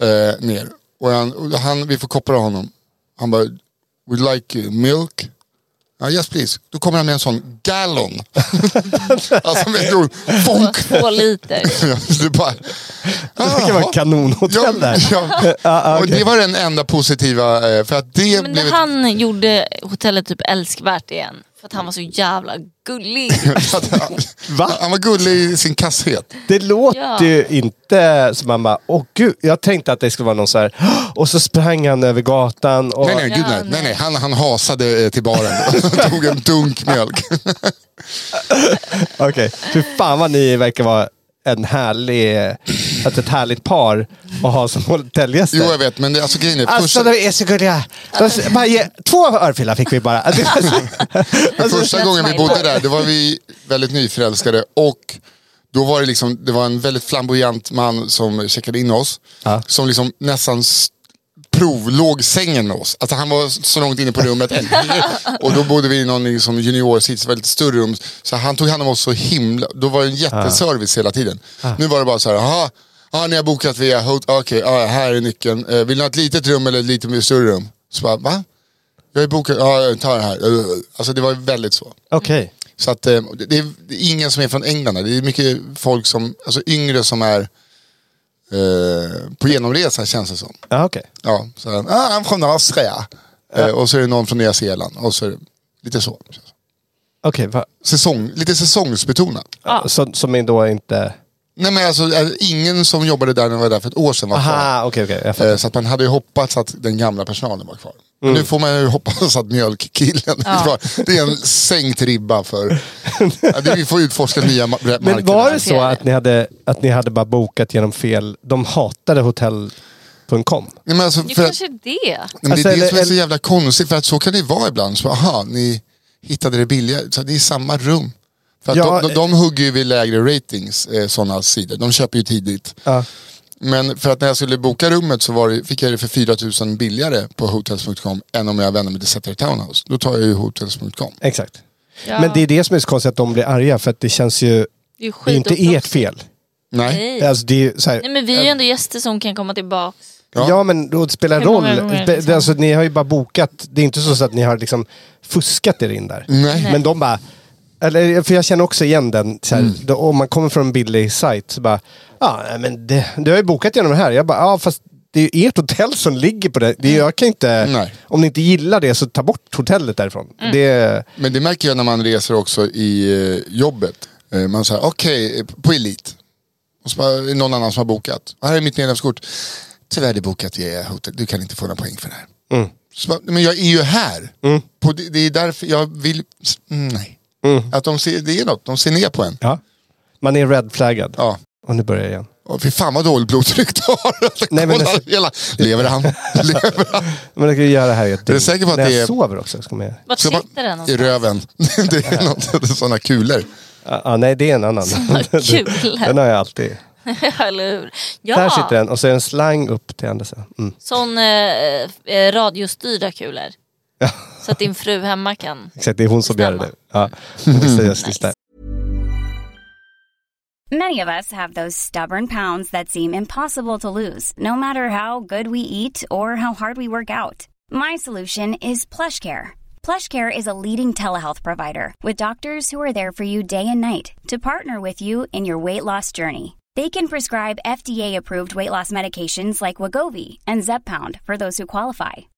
Speaker 3: Eh, ner. Och han, och han, vi får koppla honom. Han bara, would like eh, milk? Ja, yes please. Då kommer han med en sån gallon. alltså med en stor fonk.
Speaker 4: Två liter.
Speaker 3: det bara,
Speaker 5: Det kan vara
Speaker 3: Jaha.
Speaker 5: ett kanonhotell där.
Speaker 3: ja.
Speaker 5: Ja,
Speaker 3: Och
Speaker 5: okej.
Speaker 3: det var den enda positiva, eh, för att det
Speaker 4: Men
Speaker 3: blev
Speaker 4: det
Speaker 3: ett
Speaker 4: han gjorde hotellet typ älskvärt igen. För att han var så jävla gullig.
Speaker 5: Va?
Speaker 3: Han var gullig i sin kasshet.
Speaker 5: Det låter
Speaker 4: Ja.
Speaker 5: ju inte som man bara, åh gud, jag tänkte att det skulle vara någon så här, "Åh!" och så sprang han över gatan. Och,
Speaker 3: Nej, nej, gud, nej. nej, nej. Han, han hasade eh, till baren och tog en dunk mjölk.
Speaker 5: Okej, fy fan vad ni verkar vara en härlig, att ett härligt par att ha som hotellgäster.
Speaker 3: Jo, jag vet, men det, alltså, grejen är...
Speaker 5: Alltså
Speaker 3: första,
Speaker 5: de är så gulliga. De, bara ge, två örfilar fick vi bara. Alltså, alltså,
Speaker 3: första gången vi
Speaker 4: my
Speaker 3: bodde
Speaker 4: life.
Speaker 3: där, då var vi väldigt nyförälskade och då var det liksom, det var en väldigt flamboyant man som checkade in oss.
Speaker 5: Ja.
Speaker 3: Som liksom nästan s- provlåg sängen med oss. Alltså han var så långt inne på rummet. och då bodde vi i någon liksom juniorsits, väldigt större rum. Så han tog hand om oss så himla, då var det en jätteservice hela tiden. Nu var det bara så här, aha, aha ni har bokat via hot, okej, ja, här är nyckeln. Eh, vill ni ha ett litet rum eller ett lite mer större rum? Så bara, va? Jag är bokad, ja jag tar det här. Alltså det var väldigt så.
Speaker 5: Okej.
Speaker 3: Så att eh, det det är det är ingen som är från England. här. Det är mycket folk som, alltså yngre som är eh, på genomresa känns det som.
Speaker 5: Ja, okej.
Speaker 3: Ja, så här, ah, I'm from Austria. Eh, och så är det någon från Nya Zeeland. Och så är det lite så.
Speaker 5: Okej, va-
Speaker 3: Säsong, lite säsongsbetonat.
Speaker 5: så- som är då inte...
Speaker 3: Nej men alltså eh, ingen som jobbade där när jag var där för ett år sedan var kvar.
Speaker 5: Aha, okej, okej. jag fattar.
Speaker 3: Eh, Så att man hade ju hoppats att den gamla personalen var kvar. Men nu får man ju hoppas att mjölkkillen är kvar. Det är en sänkt ribba för... Ja, det, vi får utforska nya ma- marker.
Speaker 5: Men var det så
Speaker 4: Marknaden.
Speaker 5: att ni, hade, att ni hade bara bokat genom fel... De hatade hotell.com?
Speaker 3: Nej, men alltså,
Speaker 4: Det
Speaker 3: för att,
Speaker 4: kanske är det.
Speaker 3: nej, men
Speaker 5: Alltså,
Speaker 3: det är det
Speaker 5: eller-
Speaker 3: som är så
Speaker 5: eller-
Speaker 3: jävla konstigt, för att så kan det ju vara ibland. Så, aha, ni hittade det billigare. Så det är samma rum. För att
Speaker 5: Ja, eh,
Speaker 3: de, de, de hugger ju vid lägre ratings, eh, sådana sidor. De köper ju tidigt.
Speaker 5: Ja.
Speaker 3: Men för att när jag skulle boka rummet så var det, fick jag det för 4000 billigare på hotels.com än om jag vänder mig till Setter Townhouse. Då tar jag ju hotels.com.
Speaker 5: Exakt.
Speaker 4: Ja,
Speaker 5: Men det är det som är så konstigt att de blir arga för att det känns ju...
Speaker 4: det är ju
Speaker 5: Det är ju inte
Speaker 4: skitupproxigt.
Speaker 5: ert fel.
Speaker 3: Nej.
Speaker 4: Nej.
Speaker 5: Alltså det är ju så här,
Speaker 4: Nej men vi är ju ändå gäster som kan komma tillbaka.
Speaker 3: Ja.
Speaker 5: ja. men då spelar
Speaker 4: Hur
Speaker 5: roll.
Speaker 4: många gånger
Speaker 5: Be-
Speaker 4: liksom?
Speaker 5: Alltså, ni har ju bara bokat. Det är inte så att ni har liksom fuskat er in där.
Speaker 3: Nej.
Speaker 5: Men de bara... Eller, för jag känner också igen den. Så här,
Speaker 3: Mm.
Speaker 5: då, om man kommer från en billig sajt så bara... Ja, nej, men det, du har ju bokat genom det här. Jag bara, ja fast det är ju ert hotell som ligger på det. det
Speaker 4: Mm.
Speaker 5: är- jag kan inte...
Speaker 3: Nej.
Speaker 5: Om ni inte gillar det så ta bort hotellet därifrån.
Speaker 4: Mm.
Speaker 5: Det,
Speaker 3: Men det märker jag när man reser också i eh, jobbet. Eh, man säger okej, eh, på Elit. Och så bara, är det någon annan som har bokat. Här är mitt medlemskort. Tyvärr det är bokat via hotell. Du kan inte få några poäng för det här.
Speaker 5: Mm.
Speaker 3: Så bara, men jag är ju här. På, det, det är därför jag vill... Mm, nej. Att de ser, det är något, de ser ner på en.
Speaker 5: ja. Man är redflaggad.
Speaker 3: Ja.
Speaker 5: Och nu börjar jag igen.
Speaker 3: Och fy fan vad dåligt blodtryck du har. Alltså,
Speaker 5: Nej, men
Speaker 3: kolla
Speaker 5: alltså-
Speaker 3: hela, lever han? Lever han?
Speaker 5: Men jag kan ju göra det här i ett
Speaker 3: Är du
Speaker 5: dygn.
Speaker 3: säker på att
Speaker 5: När
Speaker 3: det är-
Speaker 5: jag sover också. Ska man... göra.
Speaker 4: Vart
Speaker 3: Så bara-
Speaker 4: sitter den
Speaker 3: I
Speaker 4: någonstans?
Speaker 3: röven. Det är något, sådana kulor.
Speaker 5: Ja, ja, nej, det är en annan.
Speaker 4: Kul.
Speaker 5: Den har jag alltid.
Speaker 4: Eller hur? Ja,
Speaker 5: Där sitter den och så är det en slang upp till andra sidan. Mm.
Speaker 4: sån eh, eh, radiostyrda kulor. Så att din fru hemma kan.
Speaker 5: Exakt, det är hon som gör det nu. Ja. Visst, just, just där.
Speaker 6: Many of us have those stubborn pounds that seem impossible to lose, no matter how good we eat or how hard we work out. My solution is PlushCare. PlushCare is a leading telehealth provider with doctors who are there for you day and night to partner with you in your weight loss journey. They can prescribe FDA-approved weight loss medications like Wagovi and Zepbound for those who qualify.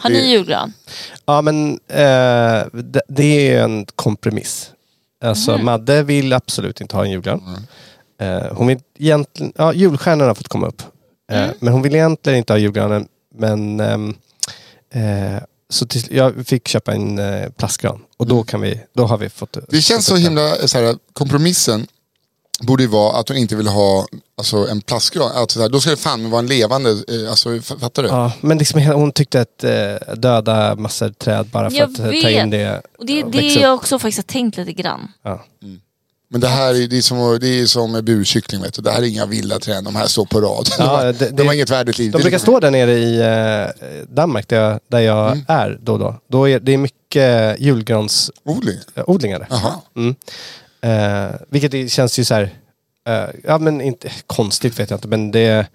Speaker 4: Har ni julgran?
Speaker 5: Ja, men eh, det, det är en kompromiss. Alltså
Speaker 3: Mm.
Speaker 5: Madde vill absolut inte ha en julgran. Eh, hon vill egentligen, ja, julstjärnorna har fått komma upp. Eh,
Speaker 3: Mm.
Speaker 5: Men hon vill egentligen inte ha julgranen. Men ehm, eh, så till, jag fick köpa en eh, plastgran. Och då, kan vi, då har vi fått...
Speaker 3: Mm. Det känns så
Speaker 5: fått upp
Speaker 3: himla, eh, så här, kompromissen borde ju vara att hon inte vill ha alltså, en plastgran. Alltså, så här, då ska det fan vara en levande, eh, alltså, f- fattar du?
Speaker 5: den. Ja, men liksom, hela- hon tyckte att eh, döda massor träd bara för
Speaker 4: Jag
Speaker 5: att eh, ta in
Speaker 4: vet.
Speaker 5: det.
Speaker 4: Och det, det
Speaker 5: växa
Speaker 4: är
Speaker 5: upp.
Speaker 4: jag också faktiskt har tänkt lite grann.
Speaker 5: Ja.
Speaker 3: Men det här är, det är, som, det är som med burkyckling, vet du. det här är inga vilda träd, de här står på rad. de, har,
Speaker 5: det-
Speaker 3: de
Speaker 5: det-
Speaker 3: har inget värdigt liv.
Speaker 5: De
Speaker 3: Det är
Speaker 5: brukar
Speaker 3: liksom-
Speaker 5: stå där nere i eh, Danmark där jag, där jag
Speaker 3: Mm.
Speaker 5: är då och då. då är, det är mycket julgransodlingar
Speaker 3: Odling?
Speaker 5: där.
Speaker 3: Jaha.
Speaker 5: Mm. Eh, vilket det känns ju så här, eh, ja men inte konstigt vet jag inte, men det,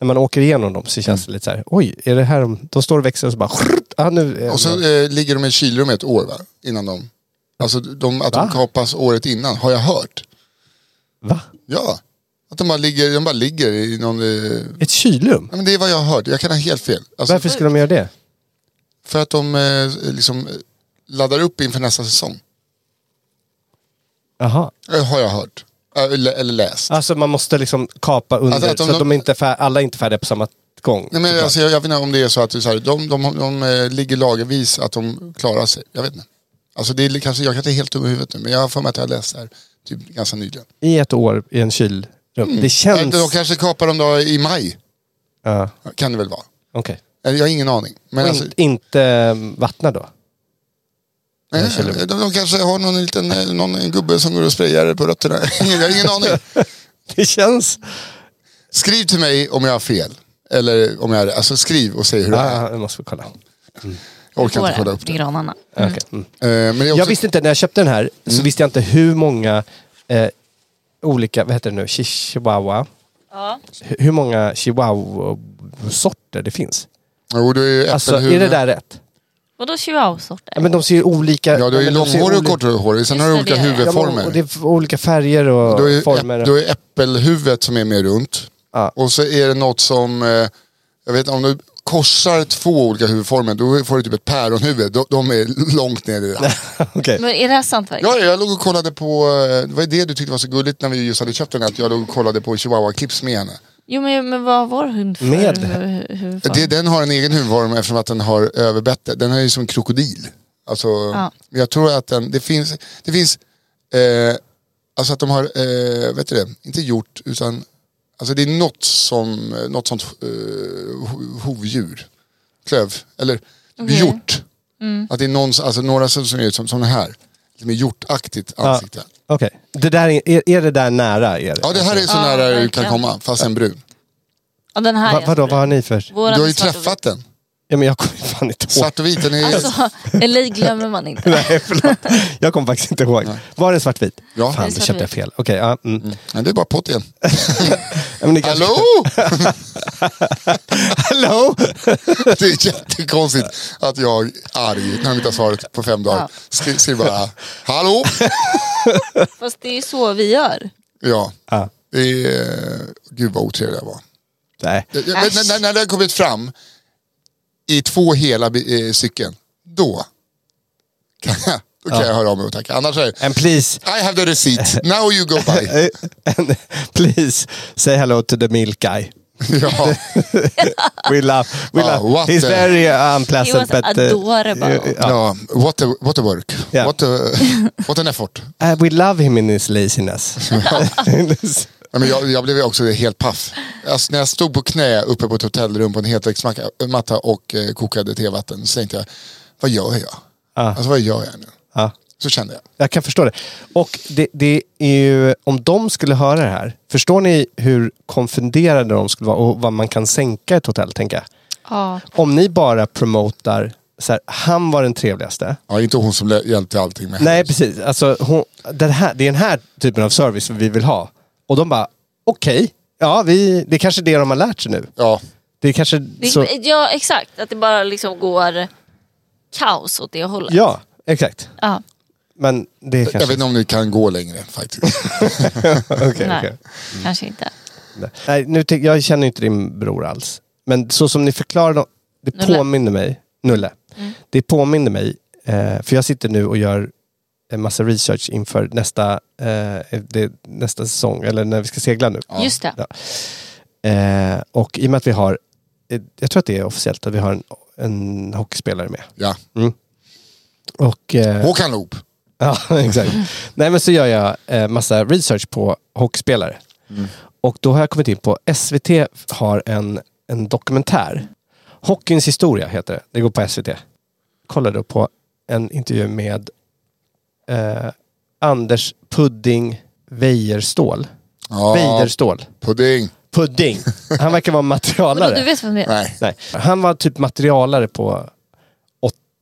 Speaker 5: när man åker igenom dem så
Speaker 3: Mm.
Speaker 5: känns det lite så här, oj, är det här, de- de står och växer och så bara, ah, nu är
Speaker 3: Och så eh, ligger de i kylrum ett år va? Innan de... Alltså de, att de
Speaker 5: Va?
Speaker 3: kapas året innan, har jag hört.
Speaker 5: va?
Speaker 3: Ja. Att de bara ligger, de bara ligger i någon... Eh,
Speaker 5: Ett kylrum?
Speaker 3: nej, men det är vad jag har hört, jag kan ha helt fel. Alltså,
Speaker 5: Varför skulle de göra det?
Speaker 3: För att de eh, liksom eh, laddar upp inför nästa säsong.
Speaker 5: Jaha.
Speaker 3: Eh, har jag hört. Eh, Eller, eller läst.
Speaker 5: Alltså man måste liksom kapa under,
Speaker 3: Alltså att de-
Speaker 5: så att de inte är fär- alla är inte färdiga på samma gång.
Speaker 3: Nej, men,
Speaker 5: såklart.
Speaker 3: alltså, jag, jag vet inte om det är så att det är så här, de, de, de, eh, ligger lagervis att de klarar sig. Jag vet inte. Alltså det är kanske, jag kanske är helt dum i huvudet nu men jag har för mig att jag har läst det här typ, ganska nyligen.
Speaker 5: I ett år i en kylrum. Det känns...
Speaker 3: Eh, De kanske kapar dem då i maj.
Speaker 5: Ja,
Speaker 3: Kan det väl vara.
Speaker 5: okej.
Speaker 3: Eh, Jag har ingen aning. Men
Speaker 5: Och
Speaker 3: alltså,
Speaker 5: in, inte eh, vattna då?
Speaker 3: nej,
Speaker 5: jag känner-
Speaker 3: eh, de, de kanske har någon liten eh, någon gubbe som går och sprayar på rötterna. jag har ingen aning.
Speaker 5: Det känns...
Speaker 3: Skriv till mig om jag har fel. Eller om jag är Alltså skriv och säg hur Mm. det är.
Speaker 5: Ja, nu Ah, måste vi kolla.
Speaker 3: Jag orkar
Speaker 4: Går
Speaker 3: inte kolla upp
Speaker 4: med
Speaker 3: det. Eh,
Speaker 4: granarna.
Speaker 5: Okej, Mm.
Speaker 3: Men det är
Speaker 5: Jag
Speaker 3: också, Mm.
Speaker 5: visste inte, när jag köpte den här så visste jag inte hur många eh, olika, vad heter det nu, Chi- chihuahua?
Speaker 4: Ja.
Speaker 5: H- Hur många chihuahua-sorter det finns.
Speaker 3: jo, det är ju
Speaker 5: Alltså, är det
Speaker 3: äppelhuvud.
Speaker 5: där rätt?
Speaker 4: Vadå
Speaker 5: Ja,
Speaker 4: chihuahua-sorter?
Speaker 5: men de ser ju olika...
Speaker 3: Ja, du har ju
Speaker 5: men de ser
Speaker 3: långhårig och
Speaker 5: olika-
Speaker 3: korthårig. Sen
Speaker 4: Just
Speaker 3: har du
Speaker 4: det,
Speaker 3: olika
Speaker 4: det är det.
Speaker 5: Ja, men-
Speaker 3: huvudformer.
Speaker 5: Och det är f- olika färger och
Speaker 3: Då är,
Speaker 5: former.
Speaker 3: äpp, då är äppelhuvudet som är mer runt.
Speaker 5: Ja.
Speaker 3: Och så är det något som, eh, jag vet inte, om du korsar två olika huvudformer, då får du typ ett päronhuvud. De, de är långt ner i det där.
Speaker 5: Okej.
Speaker 4: Men är det här sant verkligen?
Speaker 3: Ja, jag låg och kollade på, eh, det var ju det du tyckte var så gulligt när vi just hade köpt den, att jag låg och kollade på chihuahua-clips med henne.
Speaker 4: Jo men, men vad har vår hund för
Speaker 5: Med.
Speaker 4: hu- huvudform?
Speaker 3: Det, den har en egen huvudform eftersom att den har överbette. Den är ju som en krokodil. Alltså, Jag tror att den, det finns, det finns eh, alltså att de har, eh, vet du det, inte gjort utan, alltså det är något som, något sånt eh, ho- hovdjur. Klöv, eller hjort.
Speaker 4: Mm.
Speaker 3: Att det är någon, alltså några som som är som, som den här. Med hjortaktigt ansikte. Ja.
Speaker 5: Okej. Det där är, är, är det där nära er?
Speaker 3: det här är så
Speaker 4: Ja,
Speaker 3: nära du kan
Speaker 4: verkligen.
Speaker 3: komma, fast en brun.
Speaker 4: Ja, den här
Speaker 5: Va,
Speaker 4: är
Speaker 5: vadå, vad har ni för...
Speaker 4: Våran
Speaker 3: Du har
Speaker 4: är
Speaker 3: ju
Speaker 4: svart och vit.
Speaker 3: träffat den.
Speaker 5: Ja, men jag kommer fan inte ihåg.
Speaker 3: Svart och vit, den är...
Speaker 4: Alltså, eller glömmer man inte.
Speaker 5: Nej, förlåt. Jag kommer faktiskt inte ihåg. Var den svartvit?
Speaker 3: Ja.
Speaker 5: Fan,
Speaker 4: Den är
Speaker 5: då köpte jag
Speaker 4: svartvit.
Speaker 5: fel. Okej, ja. Mm.
Speaker 3: Nej, det är bara pott igen.
Speaker 5: Ja, men det kanske-
Speaker 3: Hallå!
Speaker 5: Hallå!
Speaker 3: Det är jättekonstigt att jag är arg när de inte har svarat på fem dagar. Skri- Skriver bara, hallå?
Speaker 4: Fast det är ju så vi gör.
Speaker 3: Ja.
Speaker 5: Ja.
Speaker 3: Det är, gud vad otrevlig jag var.
Speaker 5: Nej.
Speaker 3: Jag- jag- När, när, när det har kommit fram i två hela bi- eh, stycken, då kan jag Då kan jag höra av mig och tacka. Annars är det,
Speaker 5: And please,
Speaker 3: I have the receipt, now you go buy.
Speaker 5: and please say hello to the milk guy.
Speaker 3: ja.
Speaker 5: We love, we
Speaker 3: Ah,
Speaker 5: love.
Speaker 3: what
Speaker 5: He's
Speaker 3: a-
Speaker 5: very
Speaker 4: He
Speaker 5: unpleasant.
Speaker 4: was
Speaker 5: but, uh,
Speaker 4: adorable.
Speaker 3: Alltså, Ja, what a, what a work.
Speaker 5: Yeah.
Speaker 3: What, a, what an effort.
Speaker 5: uh, we love him in his laziness.
Speaker 3: Nej, Men jag, jag blev ju också helt paff. Alltså, när jag stod på knä uppe på ett hotellrum på en heltäcksmatta och eh, kokade tevatten så tänkte jag, vad gör jag? Alltså vad gör jag nu?
Speaker 5: Ja.
Speaker 3: Så kände jag.
Speaker 5: Jag kan förstå det. Och det, det är ju, om de skulle höra det här, förstår ni hur konfunderade de skulle vara och vad man kan sänka ett hotell, tänker jag.
Speaker 4: Ja.
Speaker 5: Om ni bara promotar, så här, han var den trevligaste.
Speaker 3: Ja, inte hon som lä- hjälpte allting med.
Speaker 5: Nej, precis. Alltså, hon, den här, det är den här typen av service vi vill ha. Och de bara, okej, ja, vi, det är kanske det de har lärt sig nu.
Speaker 3: Ja,
Speaker 5: Det är kanske
Speaker 4: Det,
Speaker 5: så...
Speaker 4: ja exakt, att det bara liksom går kaos åt det hållet.
Speaker 5: Ja, exakt.
Speaker 4: Ja,
Speaker 5: Men det är
Speaker 3: jag vet
Speaker 5: kanske...
Speaker 3: inte om ni kan gå längre faktiskt.
Speaker 5: Okej,
Speaker 4: nej,
Speaker 5: okej.
Speaker 4: kanske inte.
Speaker 5: Nej, nu tänk, jag känner ju inte din bror alls. Men så som ni förklarade, det
Speaker 4: Nulle. Mm.
Speaker 5: påminner mig, Nulle, det påminner mig, eh, för jag sitter nu och gör en massa research inför nästa, eh, det, nästa säsong, eller när vi ska segla nu.
Speaker 4: Just det.
Speaker 5: Ja. Eh, och i och med att vi har, eh, jag tror att det är officiellt, att vi har en, en hockeyspelare med.
Speaker 3: Ja.
Speaker 5: Och, eh,
Speaker 3: Håkan Loop.
Speaker 5: Ja, exakt. Nej, men så gör jag eh, massa research på hockeyspelare. Och då har jag kommit in på SVT har en, en dokumentär. Hockeyns historia heter det. Det går på SVT. Kollade då på en intervju med eh, Anders Pudding Weijerstål.
Speaker 3: Ja,
Speaker 5: Weijerstål.
Speaker 3: pudding.
Speaker 5: Pudding. Han verkar vara
Speaker 4: Men du
Speaker 5: materialare.
Speaker 4: vet vem det är?
Speaker 3: Nej.
Speaker 5: Nej. Han var typ materialare på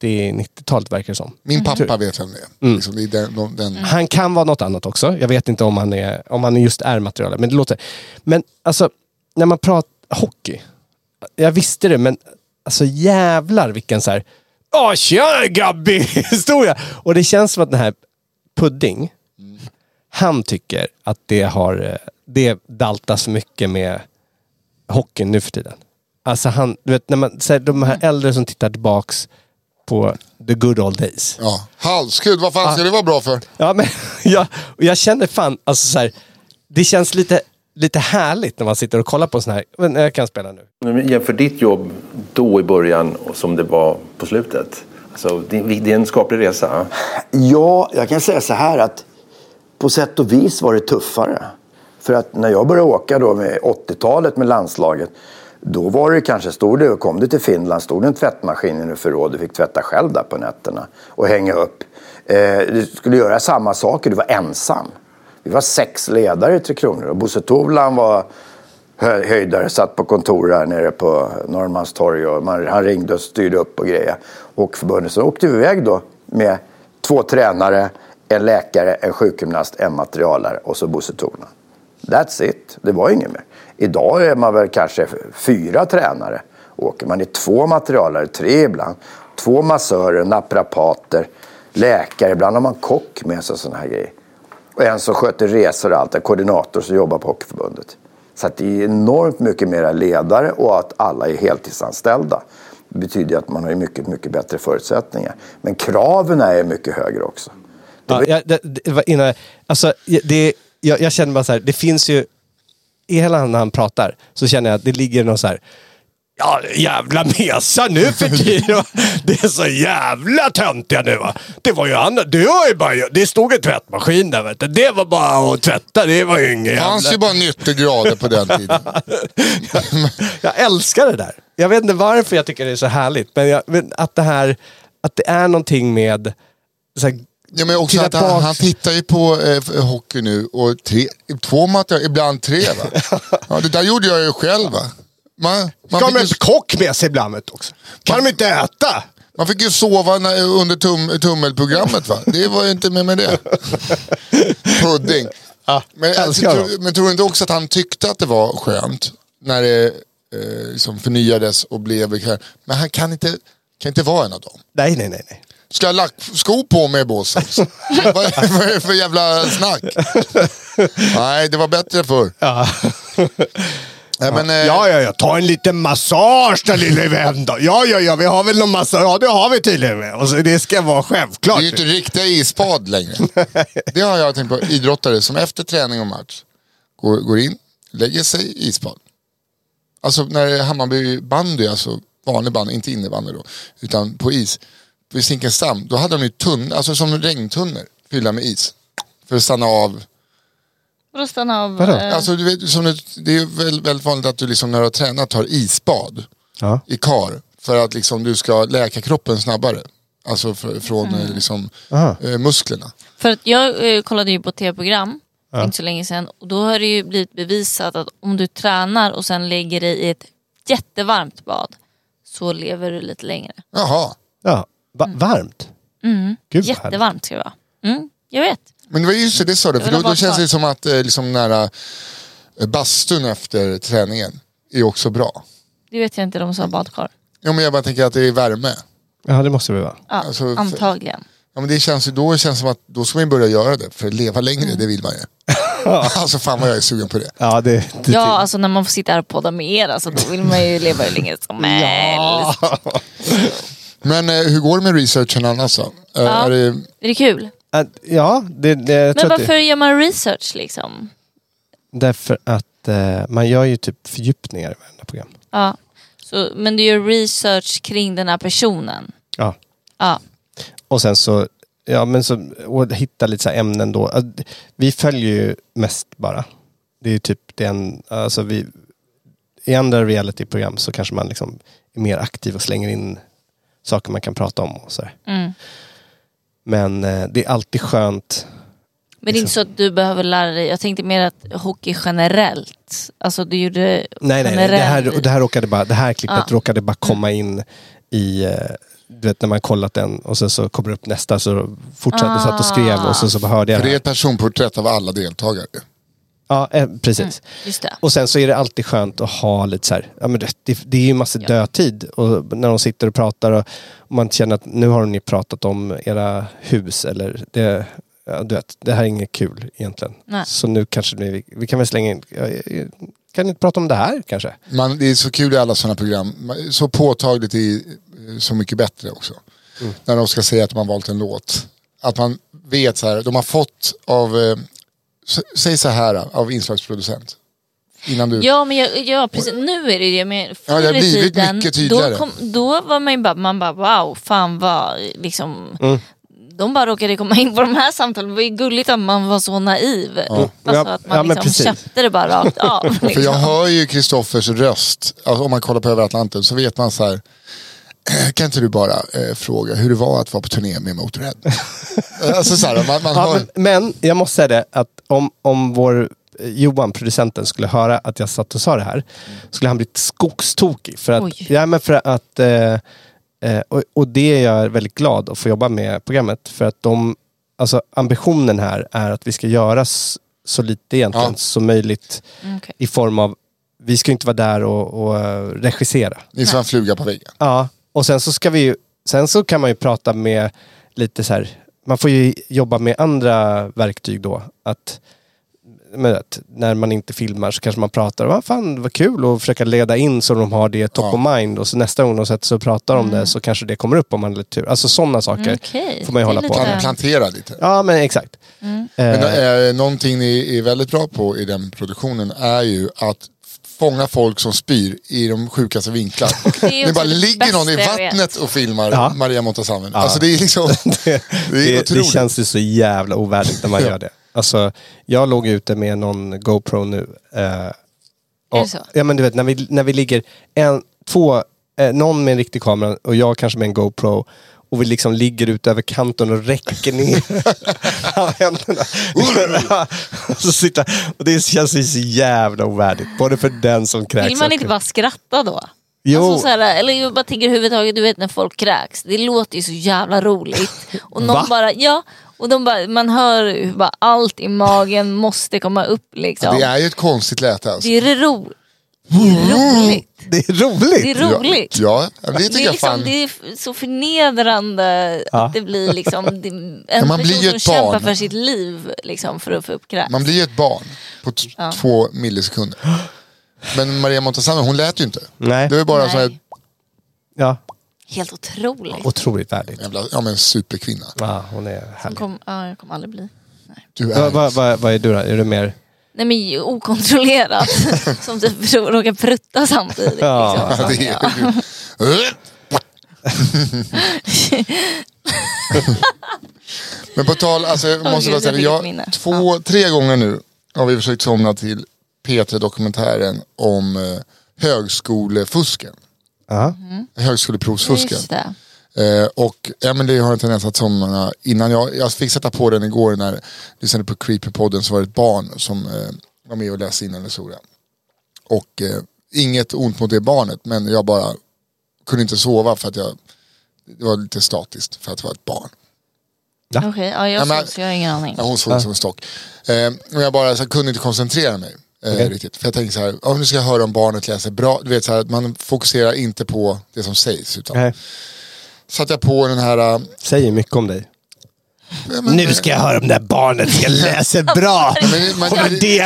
Speaker 5: 80-90-talet verkar det som.
Speaker 3: Min pappa vet vem det är.
Speaker 5: Mm.
Speaker 3: Liksom, det är den, de- den,
Speaker 5: Han kan vara något annat också. Jag vet inte om han är, om han just är materialet. Men det låter... Men alltså, när man pratar hockey. Jag visste det, men alltså jävlar vilken så här... Åh, tjena Gabby! Historia! Och det känns som att den här Pudding, han tycker att det har... eh, Det daltas för mycket med hockeyn nu för tiden. Alltså han, du vet, när man, så här, de här äldre som tittar tillbaks på the good old days.
Speaker 3: Ja. Halskud, vad fan ska det vara bra för?
Speaker 5: Ja, men jag, och jag känner fan, alltså så här, det känns lite, lite härligt när man sitter och kollar på en sån här, men jag kan spela nu.
Speaker 2: Jämför ditt jobb då i början och som det var på slutet. Alltså, det, är- det är en skaplig resa.
Speaker 7: Ja, jag kan säga så här att på sätt och vis var det tuffare. För att när jag började åka då med 80-talet med landslaget då var det kanske, stod det, kom du till Finland, stod det en tvättmaskin i en förråd, du fick tvätta själv där på nätterna och hänga upp. Eh, du skulle göra samma saker, du var ensam. Vi var sex ledare i Tre Kronor och Bosse Tolan var hö- höjdare, satt på kontor här nere på Norrmalmstorg och man, han ringde och styrde upp och grejer. Och förbundet, så åkte vi iväg då med två tränare, en läkare, en sjukgymnast, en materialare och så Bosse Tolan. That's it, det var inget mer. Idag är man väl kanske fyra tränare. Åker man är två materialare, tre ibland. Två massörer, naprapater, läkare, ibland har man kock med sig och sådana här grejer. Och en som sköter resor och allt, en koordinator som jobbar på Hockeyförbundet. Så att det är enormt mycket mera ledare och att alla är heltidsanställda. Det betyder ju att man har ju mycket, mycket bättre förutsättningar. Men kraven är ju mycket högre också.
Speaker 5: Ja, jag, det, det var innan, alltså, jag- det, jag, jag känner bara så här, det finns ju, i hela när han pratar, så känner jag att det ligger någon så här, Ja, jävla mesa nu för tiden. va. Det är så jävla töntiga nu. Va? Det var ju annat. Det, var ju bara, det stod en tvättmaskin där. Vet du. Det var bara att tvätta. Det var ju inget
Speaker 3: Det fanns ju bara 90 grader på den tiden.
Speaker 5: jag älskar det där. Jag vet inte varför jag tycker det är så härligt, men, jag, men att det här, att det är någonting med så här,
Speaker 3: Ja, men också
Speaker 5: Titta
Speaker 3: att han,
Speaker 5: bak.
Speaker 3: han tittar ju på eh, hockey nu och tre, två matcher, ibland tre va? Ja, det där gjorde jag ju själv va? Man, man,
Speaker 5: Ska de
Speaker 3: fick,
Speaker 5: en
Speaker 3: ju,
Speaker 5: kock med sig ibland vet du också? Kan de inte äta?
Speaker 3: man fick ju sova när, under tum, tummelprogrammet va? Det var ju inte med med det. Pudding. men,
Speaker 5: jag
Speaker 3: alltså,
Speaker 5: älskar
Speaker 3: tror, men tror du inte också att han tyckte att det var skönt när det eh, liksom förnyades och blev bekvämt? Men han kan inte, kan inte vara en av dem.
Speaker 5: Nej, nej, nej. nej.
Speaker 3: Ska jag lacksko på mig Båsens? vad, vad är det för jävla snack? Nej, det var bättre förr.
Speaker 5: Ja.
Speaker 3: Nej, men, eh,
Speaker 5: Ja, ja, ja. Ta en liten massage där lille vän då. Ja, ja, ja. Vi har väl någon massage. Ja, det har vi tydligen. Och så, det ska vara
Speaker 3: Det
Speaker 5: självklart.
Speaker 3: är ju inte riktiga isbad längre. Det har jag tänkt på. Idrottare som efter träning och match går, går in, lägger sig i isbad. Alltså när det är Hammarby bandy, alltså vanlig bandy, inte innebandy då, utan på is. Vid Zinkensdamm, då hade de ju tunnor, alltså som regntunnor fyllda med is. För att stanna av.
Speaker 4: Vadå stanna av?
Speaker 5: Vadå?
Speaker 4: eh,
Speaker 3: Alltså du vet, som det, det är ju väl- väldigt vanligt att du liksom när du har tränat tar isbad
Speaker 5: Ja.
Speaker 3: i kar för att liksom du ska läka kroppen snabbare. Alltså fr- från eh, liksom,
Speaker 5: Aha.
Speaker 3: eh, musklerna.
Speaker 4: För att jag eh, kollade ju på ett tv-program för inte så länge sedan och då har det ju blivit bevisat att om du tränar och sen lägger dig i ett jättevarmt bad så lever du lite längre.
Speaker 3: Jaha.
Speaker 5: Ja. Va- Varmt? Mm. Gud, vad härligt.
Speaker 4: Jättevarmt ska det vara. Mm, jag vet.
Speaker 3: Men det var just det, det sa du, för
Speaker 4: vill
Speaker 3: då,
Speaker 4: ha
Speaker 3: då
Speaker 4: bad
Speaker 3: känns
Speaker 4: kvar.
Speaker 3: det som att eh, liksom nära eh, bastun efter träningen är också bra.
Speaker 4: Det vet jag inte, de sa badkar.
Speaker 3: Ja, men jag bara tänker att det är värme.
Speaker 5: Ja, det måste vi vara.
Speaker 4: Ja,
Speaker 3: Alltså, för-
Speaker 4: antagligen.
Speaker 3: Ja, men det känns, ju- då känns det som att då ska man börja göra det, för att leva längre, det vill man ju. alltså fan vad jag är sugen på det.
Speaker 5: Ja, det, det,
Speaker 4: Ja, alltså när man får sitta här och podda med er, alltså, då vill man ju leva hur länge som helst.
Speaker 3: Men eh, hur går det med researchen annars då? Eh, Är det,
Speaker 4: Är det kul?
Speaker 5: Att- Äh, ja, det, det, jag
Speaker 4: Men
Speaker 5: tror att
Speaker 4: varför
Speaker 5: det,
Speaker 4: gör man research liksom?
Speaker 5: Därför att eh, man gör ju typ fördjupningar i varenda program.
Speaker 4: Ja. Så, men du gör research kring den här personen?
Speaker 5: Ja.
Speaker 4: Ja.
Speaker 5: Och sen så, ja men så, och hitta lite så här ämnen då. Att Vi följer ju mest bara. Det är ju typ den, alltså vi, i andra realityprogram så kanske man liksom är mer aktiv och slänger in saker man kan prata om och så här.
Speaker 4: Mm.
Speaker 5: Men eh, det är alltid skönt.
Speaker 4: Men det är inte
Speaker 3: Liksom.
Speaker 4: så att du behöver lära dig, jag tänkte mer att hockey generellt, alltså du gjorde
Speaker 3: Mm,
Speaker 5: Nej, nej, nej. Det här, och det här råkade bara, det här klippet
Speaker 4: Ja.
Speaker 5: råkade bara komma in i, eh, du vet när man kollat den och sen så kommer det upp nästa så fortsatte, satt och skrev och sen så hörde jag det.
Speaker 3: för det är
Speaker 5: här.
Speaker 3: ett personporträtt av alla deltagare.
Speaker 5: Ja, eh,
Speaker 4: Mm.
Speaker 5: precis.
Speaker 4: Just det.
Speaker 5: Och sen så är det alltid skönt att ha lite så här, ja men det, det, det är ju massa dödtid och när de sitter och pratar och, och man känner att nu har ni pratat om era hus eller det, ja, du vet, det här är inget kul egentligen.
Speaker 4: Nej.
Speaker 5: Så nu kanske vi, vi kan väl slänga in, ja, eh, kan ni inte prata om det här kanske?
Speaker 3: Man, det är så kul i alla sådana program. Man- Så påtagligt i eh, Så mycket bättre också. När de ska säga att man valt en låt. Att man vet så här, de har fått av, eh, s- säg så här av inslagsproducent. Innan du...
Speaker 4: Ja men jag, ja, precis, nu är det ju det. Men förr
Speaker 3: Ja, det har
Speaker 4: i
Speaker 3: blivit
Speaker 4: tiden,
Speaker 3: mycket tydligare.
Speaker 4: Då, kom, då var man ju bara, man bara wow, fan vad liksom.
Speaker 3: Mm.
Speaker 4: De bara råkade komma in på de här samtalen. Det var ju gulligt att man var så naiv. Alltså
Speaker 5: Ja,
Speaker 4: att man
Speaker 5: ja, men
Speaker 4: liksom
Speaker 5: precis.
Speaker 4: köpte det bara rakt av. Liksom.
Speaker 3: För jag hör ju Kristoffers röst, alltså om man kollar på Över Atlanten så vet man så här. Kan inte du bara eh, fråga hur det var att vara på turné med Motörhead? alltså så här, man, man
Speaker 5: Ja,
Speaker 3: hör...
Speaker 5: men, men jag måste säga det att om, om vår eh, Johan, producenten, skulle höra att jag satt och sa det här skulle han bli skogstokig. För
Speaker 4: Oj.
Speaker 5: att, ja, men för att, eh, eh, och, och det är jag väldigt glad att få jobba med programmet för att de, alltså ambitionen här är att vi ska göra s- så lite egentligen
Speaker 3: Ja.
Speaker 5: som möjligt
Speaker 4: Mm, okej.
Speaker 5: i form av, vi ska ju inte vara där och, och eh, regissera.
Speaker 3: Ni som en fluga på väggen.
Speaker 5: Ja, och sen så ska vi ju, sen så kan man ju prata med lite så här, man får ju jobba med andra verktyg då. Att, men att när man inte filmar så kanske man pratar, vad fan vad kul och försöka leda in så de har det top
Speaker 3: Ja.
Speaker 5: of mind och så nästa gång de sätter sig och pratar om det så kanske det kommer upp om man har lite tur. Alltså sådana saker
Speaker 4: Mm, okej.
Speaker 5: får man ju
Speaker 4: Det är
Speaker 5: hålla på
Speaker 4: lite- Mm.
Speaker 5: med.
Speaker 3: Plan, plantera lite.
Speaker 5: Ja men exakt.
Speaker 3: Men,
Speaker 5: Eh,
Speaker 3: eh, någonting ni är väldigt bra på i den produktionen är ju att fånga folk som spyr i de sjukaste vinklar.
Speaker 4: är
Speaker 3: Det bara
Speaker 4: också det
Speaker 3: ligger någon i
Speaker 4: bästa jag
Speaker 3: vattnet och filmar
Speaker 5: Ja.
Speaker 3: Maria Montazami. Alltså det är liksom, det är
Speaker 5: det, det
Speaker 3: otroligt.
Speaker 5: känns ju så jävla ovärdigt när man gör det. Alltså, jag låg ute med någon GoPro nu. Eh, och,
Speaker 4: så?
Speaker 5: Ja men du vet när vi, när vi ligger en, två, eh, någon med en riktig kamera och jag kanske med en GoPro och vi liksom ligger ut över kanten och räcker ner händerna. och, så sitta, och det känns ju så jävla ovärdigt. Både för den som kräks.
Speaker 4: Vill man
Speaker 5: och-
Speaker 4: inte bara skratta då?
Speaker 5: Jo.
Speaker 4: Alltså så här, eller jag bara tänker överhuvudtaget, du vet när folk kräks, det låter ju så jävla roligt. Och någon
Speaker 5: Va?
Speaker 4: bara, ja, och de bara, man hör hur bara allt i magen måste komma upp liksom.
Speaker 3: Det är ju ett konstigt läte alltså.
Speaker 4: det är ro- det är roligt.
Speaker 5: Det är roligt!
Speaker 4: Det är roligt.
Speaker 3: Ja, ja, det tycker
Speaker 4: Det är,
Speaker 3: jag
Speaker 4: liksom,
Speaker 3: fan.
Speaker 4: det är f- så förnedrande att det blir liksom det- en
Speaker 3: man blir
Speaker 4: person
Speaker 3: ju
Speaker 4: som
Speaker 3: ett
Speaker 4: kämpar
Speaker 3: barn.
Speaker 4: för sitt liv liksom, för att få upp kräks.
Speaker 3: Man blir ju ett barn på t- två millisekunder. Men Maria Montazami, hon lät ju inte.
Speaker 5: Nej.
Speaker 3: Det var ju bara
Speaker 4: Nej.
Speaker 3: så här,
Speaker 5: Ja,
Speaker 4: Helt otroligt.
Speaker 5: otroligt värdigt.
Speaker 3: jävla, ja men superkvinna.
Speaker 5: Ja, hon är
Speaker 4: Hon
Speaker 5: härlig.
Speaker 4: kom, ja, jag kommer aldrig bli.
Speaker 3: Du är...
Speaker 5: Vad va, va, vad är du då? Är du mer...
Speaker 4: Nej men ju okontrollerat. som typ rå- råkar prutta samtidigt.
Speaker 5: Ja,
Speaker 4: liksom.
Speaker 3: det är Men på tal, alltså jag måste
Speaker 4: Gud,
Speaker 3: bara
Speaker 4: jag
Speaker 3: säga
Speaker 4: fick ett
Speaker 3: jag,
Speaker 4: minne.
Speaker 3: två, tre gånger nu har vi försökt somna till P3-dokumentären om eh, högskolefusken. Mm.
Speaker 5: Ja.
Speaker 3: Högskoleprovsfusken.
Speaker 4: Just det.
Speaker 3: Eh, och ja, men det har en tendens att somna innan. Jag, jag fick sätta på den igår när jag lyssnade på Creepypodden så var det ett barn som eh, var med och läste in en historia. Och eh, inget ont mot det barnet men jag bara kunde inte sova för att jag, det var lite statiskt för att vara ett barn.
Speaker 4: Okej, ja, jag,
Speaker 3: Ja, men-
Speaker 4: såg, så jag har ingen aning.
Speaker 3: Ja, hon såg ut som en stock. Eh, och jag bara så här, kunde inte koncentrera mig. Eh, riktigt. För jag tänkte så här, ja, nu ska jag höra om barnet läser bra. Du vet så här, att man fokuserar inte på det som sägs. Utan
Speaker 5: Nej.
Speaker 3: satte jag på den här... eh,
Speaker 5: Säger mycket om dig.
Speaker 3: ja, men-
Speaker 5: jag höra om det här barnet ska läsa bra
Speaker 3: Men- men- Ja, men det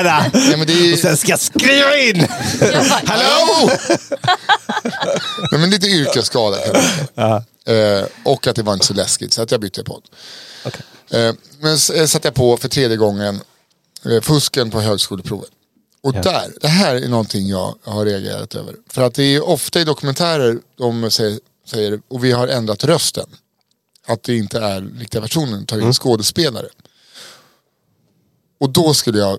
Speaker 3: är-
Speaker 5: ska jag skriva in.
Speaker 4: Jag bara,
Speaker 3: Hallå! Nej, men lite yrkesskada kan man säga. eh, Och att det var inte så läskigt så att jag bytte podd. Eh, men s- eh, satte jag på för tredje gången eh, fusken på högskoleprovet. Och där, det här är någonting jag har reagerat över. För att det är ofta i dokumentärer de säger, säger och vi har ändrat rösten. Att det inte är riktiga versionen, tar in skådespelare. Och då skulle jag,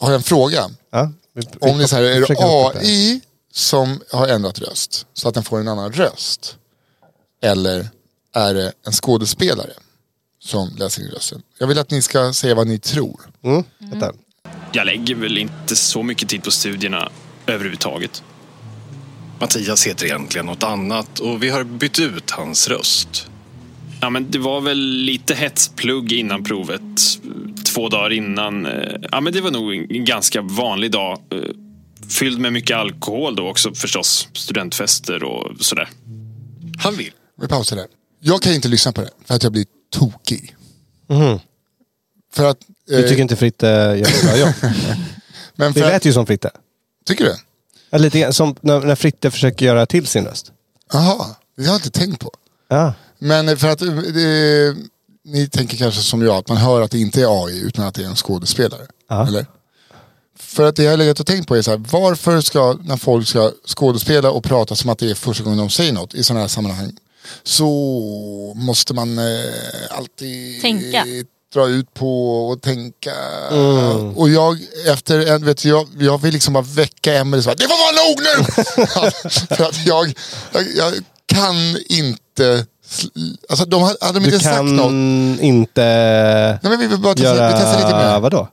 Speaker 3: har jag en fråga.
Speaker 5: Ja, vi- vi-
Speaker 3: Om det är så här, är det
Speaker 5: försöker hoppa upp här.
Speaker 3: AI som har ändrat röst så att den får en annan röst? Eller är det en skådespelare som läser in rösten? Jag vill att ni ska säga vad ni tror.
Speaker 5: Mm, vänta.
Speaker 8: Jag lägger väl inte så mycket tid på studierna överhuvudtaget.
Speaker 9: Mattias heter egentligen något annat och vi har bytt ut hans röst.
Speaker 8: Ja, men det var väl lite hetsplugg innan provet. Två dagar innan. eh, Ja, men det var nog en ganska vanlig dag. eh, Fylld med mycket alkohol då också förstås. Studentfester och sådär.
Speaker 9: Han vill.
Speaker 3: Vi pausar där. Jag kan inte lyssna på det för att jag blir tokig. För att...
Speaker 5: Mm-hmm. Du tycker
Speaker 3: eh,
Speaker 5: inte Fritte gör ett bra jobb?
Speaker 3: men för
Speaker 5: Det lät
Speaker 3: att,
Speaker 5: ju som Fritte.
Speaker 3: Tycker du?
Speaker 5: Ja, lite grann som när, när Fritte försöker göra till sin röst.
Speaker 3: Jaha, det har jag inte tänkt på.
Speaker 5: Ja.
Speaker 3: Men eh, för att eh, det, ni tänker kanske som jag, att man hör att det inte är AI utan att det är en skådespelare. Eller? För att det jag har legat och tänkt på är så här, varför ska, när folk ska skådespela och prata som att det är första gången de säger något i sådana här sammanhang, så måste man eh, alltid
Speaker 4: Tänka.
Speaker 3: dra ut på och tänka.
Speaker 5: Mm.
Speaker 3: Och jag, efter en, vet du, jag, jag vill liksom bara väcka Emelie så att det får vara nog nu! För att jag, jag, jag kan inte, sl- alltså de hade, hade de
Speaker 5: Du
Speaker 3: inte sagt
Speaker 5: kan
Speaker 3: något.
Speaker 5: inte
Speaker 3: Nej men vi vill bara testa,
Speaker 5: göra...
Speaker 3: vi testar lite mer.
Speaker 5: Vadå?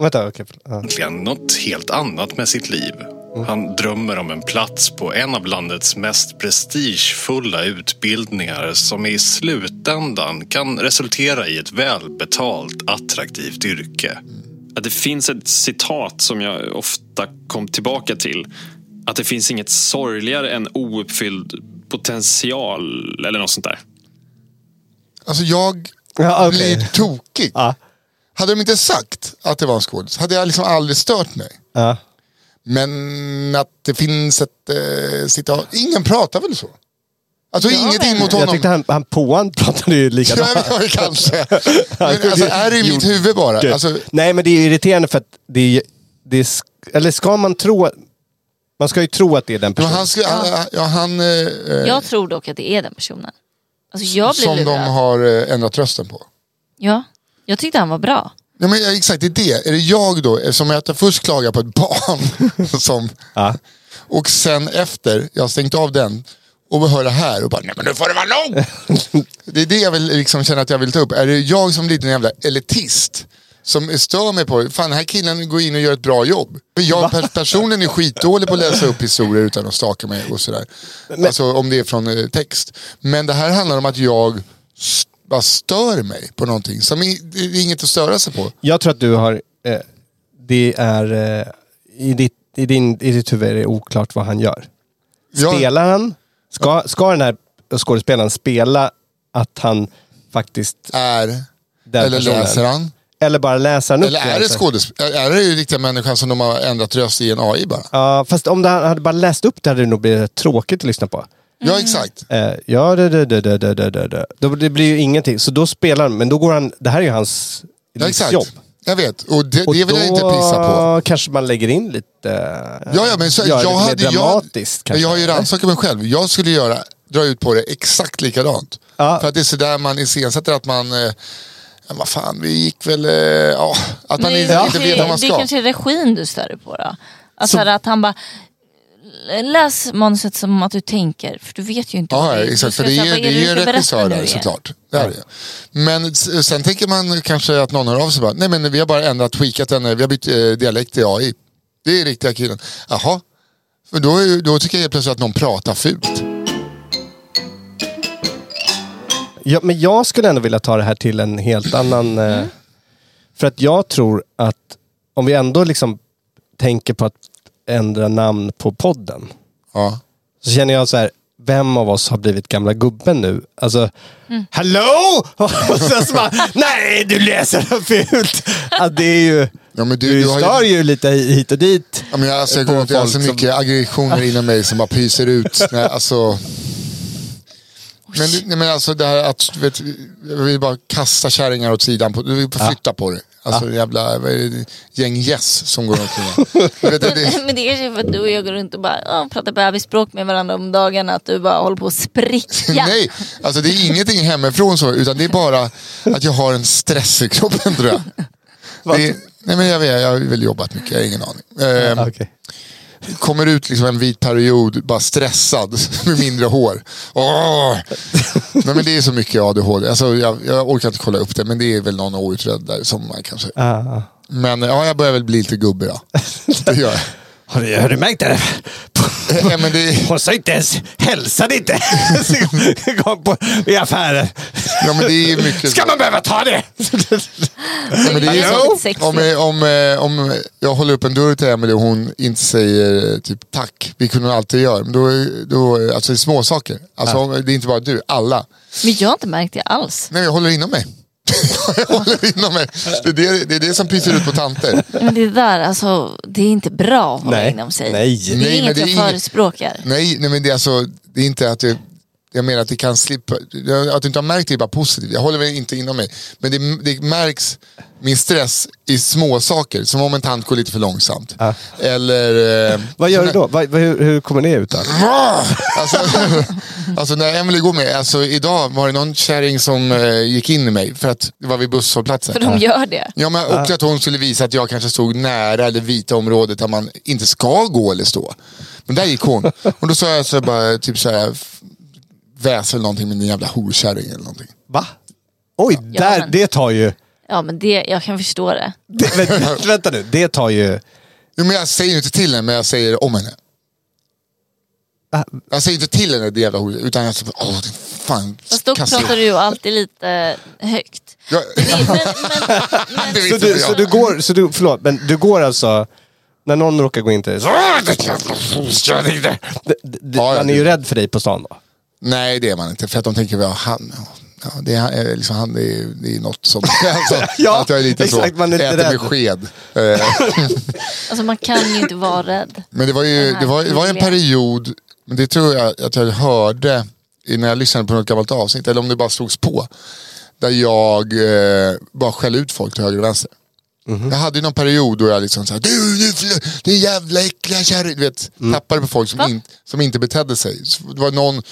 Speaker 5: Vänta, okej. förlåt. Ja.
Speaker 9: Egentligen något helt annat med sitt liv. Han drömmer om en plats på en av landets mest prestigefulla utbildningar som i slutändan kan resultera i ett välbetalt, attraktivt yrke.
Speaker 8: att det finns ett citat som jag ofta kom tillbaka till. Att det finns inget sorgligare än ouppfylld potential eller något sånt där.
Speaker 3: Alltså jag
Speaker 5: Ja, okej.
Speaker 3: blir tokig.
Speaker 5: Ja.
Speaker 3: Hade de inte sagt att det var en skådis hade jag liksom aldrig stört mig.
Speaker 5: Ja.
Speaker 3: Men att det finns ett eh, citat, ingen pratar väl så? Alltså inget in mot
Speaker 5: Jag
Speaker 3: honom.
Speaker 5: tyckte han, han påan pratade ju likadant.
Speaker 3: Ja, men, kanske. Men alltså, är det i mitt huvud bara?
Speaker 5: Gud.
Speaker 3: Alltså,
Speaker 5: Nej, men det är ju irriterande för att det är, ju- det är sk- Eller ska man tro... Man ska ju tro att det är den
Speaker 3: men
Speaker 5: personen.
Speaker 3: han, skulle, han, ja, han eh, eh,
Speaker 4: Jag tror dock att det är den personen. Alltså jag blev
Speaker 3: som de
Speaker 4: lurad.
Speaker 3: har eh, ändrat rösten på.
Speaker 4: Ja, jag tyckte han var bra.
Speaker 3: Ja, men, ja, exakt, det är det. Är det jag då, eftersom jag först klagar på ett barn som... Och sen efter, jag har stängt av den och hör det här och bara, nej men nu får det vara nog! det är det jag vill liksom känna att jag vill ta upp. Är det jag som liten jävla elitist som stör mig på, fan den här killen går in och gör ett bra jobb. För jag per, personligen är skitdålig på att läsa upp historier utan att staka mig och sådär. alltså om det är från eh, text. Men det här handlar om att jag s- bara stör mig på någonting. Som i, det är inget att störa sig på.
Speaker 5: Jag tror att du har... Eh, det är... Eh, i, ditt, i, din, I ditt huvud är det oklart vad han gör.
Speaker 3: Jag,
Speaker 5: Spelar han? Ska, ska den här skådespelaren spela att han faktiskt...
Speaker 3: är,
Speaker 5: Den
Speaker 3: eller
Speaker 5: personen.
Speaker 3: läser han.
Speaker 5: Eller bara läser han upp
Speaker 3: Eller är det
Speaker 5: alltså?
Speaker 3: skådespelare? Är det ju riktiga människan som de har ändrat röst i en AI bara?
Speaker 5: Ja, fast om det hade bara läst upp det hade det nog blivit tråkigt att lyssna på.
Speaker 3: Ja, exakt.
Speaker 5: Eh, ja, det, det, det, det, det, det, det, det. Då- Det blir ju ingenting. Så då spelar han, men då går han, det här är ju hans
Speaker 3: Ja, exakt.
Speaker 5: jobb.
Speaker 3: Jag vet, och det,
Speaker 5: Och
Speaker 3: det vill
Speaker 5: då
Speaker 3: jag inte pissa på.
Speaker 5: kanske man lägger in lite...
Speaker 3: Ja, ja, men så,
Speaker 5: gör det
Speaker 3: jag,
Speaker 5: lite
Speaker 3: hade,
Speaker 5: mer dramatiskt
Speaker 3: jag,
Speaker 5: kanske.
Speaker 3: men jag har ju rannsakat mig själv. Jag skulle göra, dra ut på det exakt likadant.
Speaker 5: Ja.
Speaker 3: För att det är sådär man iscensätter att man... Eh, ja, vad fan, vi gick väl... Eh, ja, att man
Speaker 4: Men
Speaker 3: inte,
Speaker 4: det,
Speaker 3: inte
Speaker 4: kanske-
Speaker 3: vet vad man
Speaker 4: Det
Speaker 3: ska.
Speaker 4: kanske är regin du stör dig på då? Alltså här att han bara Läs manuset som att du tänker, för du vet ju inte vad
Speaker 3: Ja,
Speaker 4: det är.
Speaker 3: ja,
Speaker 4: Du
Speaker 3: exakt.
Speaker 4: ska
Speaker 3: För det är
Speaker 4: säga,
Speaker 3: ju
Speaker 4: vad
Speaker 3: det är ju
Speaker 4: du
Speaker 3: en
Speaker 4: ska berätta
Speaker 3: regissör
Speaker 4: nu
Speaker 3: där
Speaker 4: igen?
Speaker 3: såklart. Det är det. Men s- sen tänker man kanske att någon hör av sig bara, nej men vi har bara ändrat, tweakat den, vi har bytt eh, dialekt till AI. Det är riktiga killen. Jaha. För då, är ju- då tycker jag helt plötsligt att någon pratar fult.
Speaker 5: Ja, men jag skulle ändå vilja ta det här till en helt annan... eh, För att jag tror att om vi ändå liksom tänker på att ändra namn på podden.
Speaker 3: Ja.
Speaker 5: Så känner jag så här, vem av oss har blivit gamla gubben nu? Alltså, hallå! Och sen så bara, nej du läser det fult! Ja, det är ju,
Speaker 3: Ja, men du-
Speaker 5: du,
Speaker 3: du har ju-
Speaker 5: stör ju lite hit och dit.
Speaker 3: Ja, men jag, alltså, jag,
Speaker 5: På
Speaker 3: går runt, jag har så
Speaker 5: folk som-
Speaker 3: mycket aggressioner inom mig som bara pyser ut. Nej, alltså... Men, det- nej, men alltså det här att vet, jag vill bara kasta kärringar åt sidan, på, du vill flytta på det. Alltså jävla vad är det, gäng gäss som går omkring. här. Jag vet att det-
Speaker 4: Men det är ju för att du och jag går runt och bara ja, pratar bebisspråk med varandra om dagarna, att du bara håller på att spricka.
Speaker 3: Nej, alltså det är ingenting hemifrån så, utan det är bara att jag har en stress i kroppen tror jag. Det är, nej men jag, vet, jag har väl jobbat mycket, jag har ingen aning. Ehm,
Speaker 5: Okej.
Speaker 3: Kommer ut liksom en vit period, bara stressad, med mindre hår. Åh! Nej men det är så mycket ADHD, alltså, jag, jag orkar inte kolla upp det, men det är väl någon outredd där som man kanske...
Speaker 5: Ah.
Speaker 3: Men ja, jag börjar väl bli lite gubbe då. Det gör jag.
Speaker 5: Har, du, har du märkt det?
Speaker 3: Ja, men det är-
Speaker 5: Hon sa inte ens, hälsade inte ens en gång på, i affären.
Speaker 3: Ja, men det är mycket
Speaker 5: Ska
Speaker 3: så.
Speaker 5: man behöva ta det?
Speaker 3: Ja, men det är ju
Speaker 4: Hallå?
Speaker 3: så, om, eh, om, eh, om jag håller upp en dörr till Emelie och hon inte säger eh, typ tack, vilket hon alltid gör. Men då, då, alltså det är småsaker. Alltså,
Speaker 5: Ah.
Speaker 3: om- Det är inte bara du, alla.
Speaker 4: Men jag har inte märkt det alls.
Speaker 3: Nej, jag håller inom mig. jag håller inom mig. Det är det, det, är det som pyser ut på tanter.
Speaker 4: Men det där, alltså, det är inte bra att hålla
Speaker 5: Nej.
Speaker 4: inom sig.
Speaker 5: Nej.
Speaker 4: Det är
Speaker 3: Nej, men
Speaker 4: inget
Speaker 3: det är
Speaker 4: jag
Speaker 3: inget-
Speaker 4: förespråkar.
Speaker 3: Nej, nej men det är, alltså, det är inte att du... Jag menar att det kan slippa, att du inte har märkt det är bara positivt. Jag håller väl inte inom mig. Men det, det märks min stress i små saker Som om en tant går lite för långsamt. Eller... eh,
Speaker 5: Vad gör du då? Vad, vad, hur, hur kommer det ut? Då?
Speaker 3: Ah! Alltså, alltså när Emily går med, alltså idag var det någon kärring som eh, gick in i mig för att det var vid busshållplatsen.
Speaker 4: För de gör det.
Speaker 3: Ja, men, och att hon skulle visa att jag kanske stod nära det vita området där man inte ska gå eller stå. Men där gick hon. Och då sa jag så bara, typ så här, f- väsel någonting med din jävla horkärring eller någonting.
Speaker 5: Va? Oj, där,
Speaker 4: men-
Speaker 5: det tar ju...
Speaker 4: Ja, men det, jag kan förstå det.
Speaker 5: Det, vänta, vänta nu, det tar ju...
Speaker 3: Jo, men jag säger ju inte till henne, men jag säger om henne.
Speaker 5: Ah.
Speaker 3: Jag säger inte till henne, det jävla horkärring, utan jag säger, åh, din fan.
Speaker 4: Fast då
Speaker 3: kasta-
Speaker 4: pratar du ju alltid lite högt.
Speaker 3: Jag-
Speaker 4: Men, men,
Speaker 3: Det vet
Speaker 5: Så
Speaker 3: inte
Speaker 5: du,
Speaker 3: jag.
Speaker 5: så du går, så du, förlåt, men du går alltså... När någon råkar gå in till dig, så- D- d- d-
Speaker 3: Ja, ja,
Speaker 5: Man är ju
Speaker 3: det-
Speaker 5: rädd för dig på stan då.
Speaker 3: Nej, det är man inte. För att de tänker, ja, han, ja, det, är, han- eh, liksom, han, det, är, det är något som... Alltså,
Speaker 5: Ja,
Speaker 3: att jag är lite
Speaker 5: exakt,
Speaker 3: så,
Speaker 5: man är inte
Speaker 3: äter med
Speaker 5: rädd.
Speaker 3: sked. Eh,
Speaker 4: alltså man kan ju inte vara rädd.
Speaker 3: Men det var ju det var, det var en period, men det tror jag att jag hörde i- när jag lyssnade på något gammalt avsnitt, eller om det bara slogs på, där jag eh, bara skällde ut folk till höger och vänster. Mm-hmm. Jag hade ju någon period då jag liksom såhär, du, du, fl- du jävla äckliga kärring, du vet,
Speaker 5: Mm.
Speaker 3: tappade på folk som, in, som inte betedde sig. Så Det var någon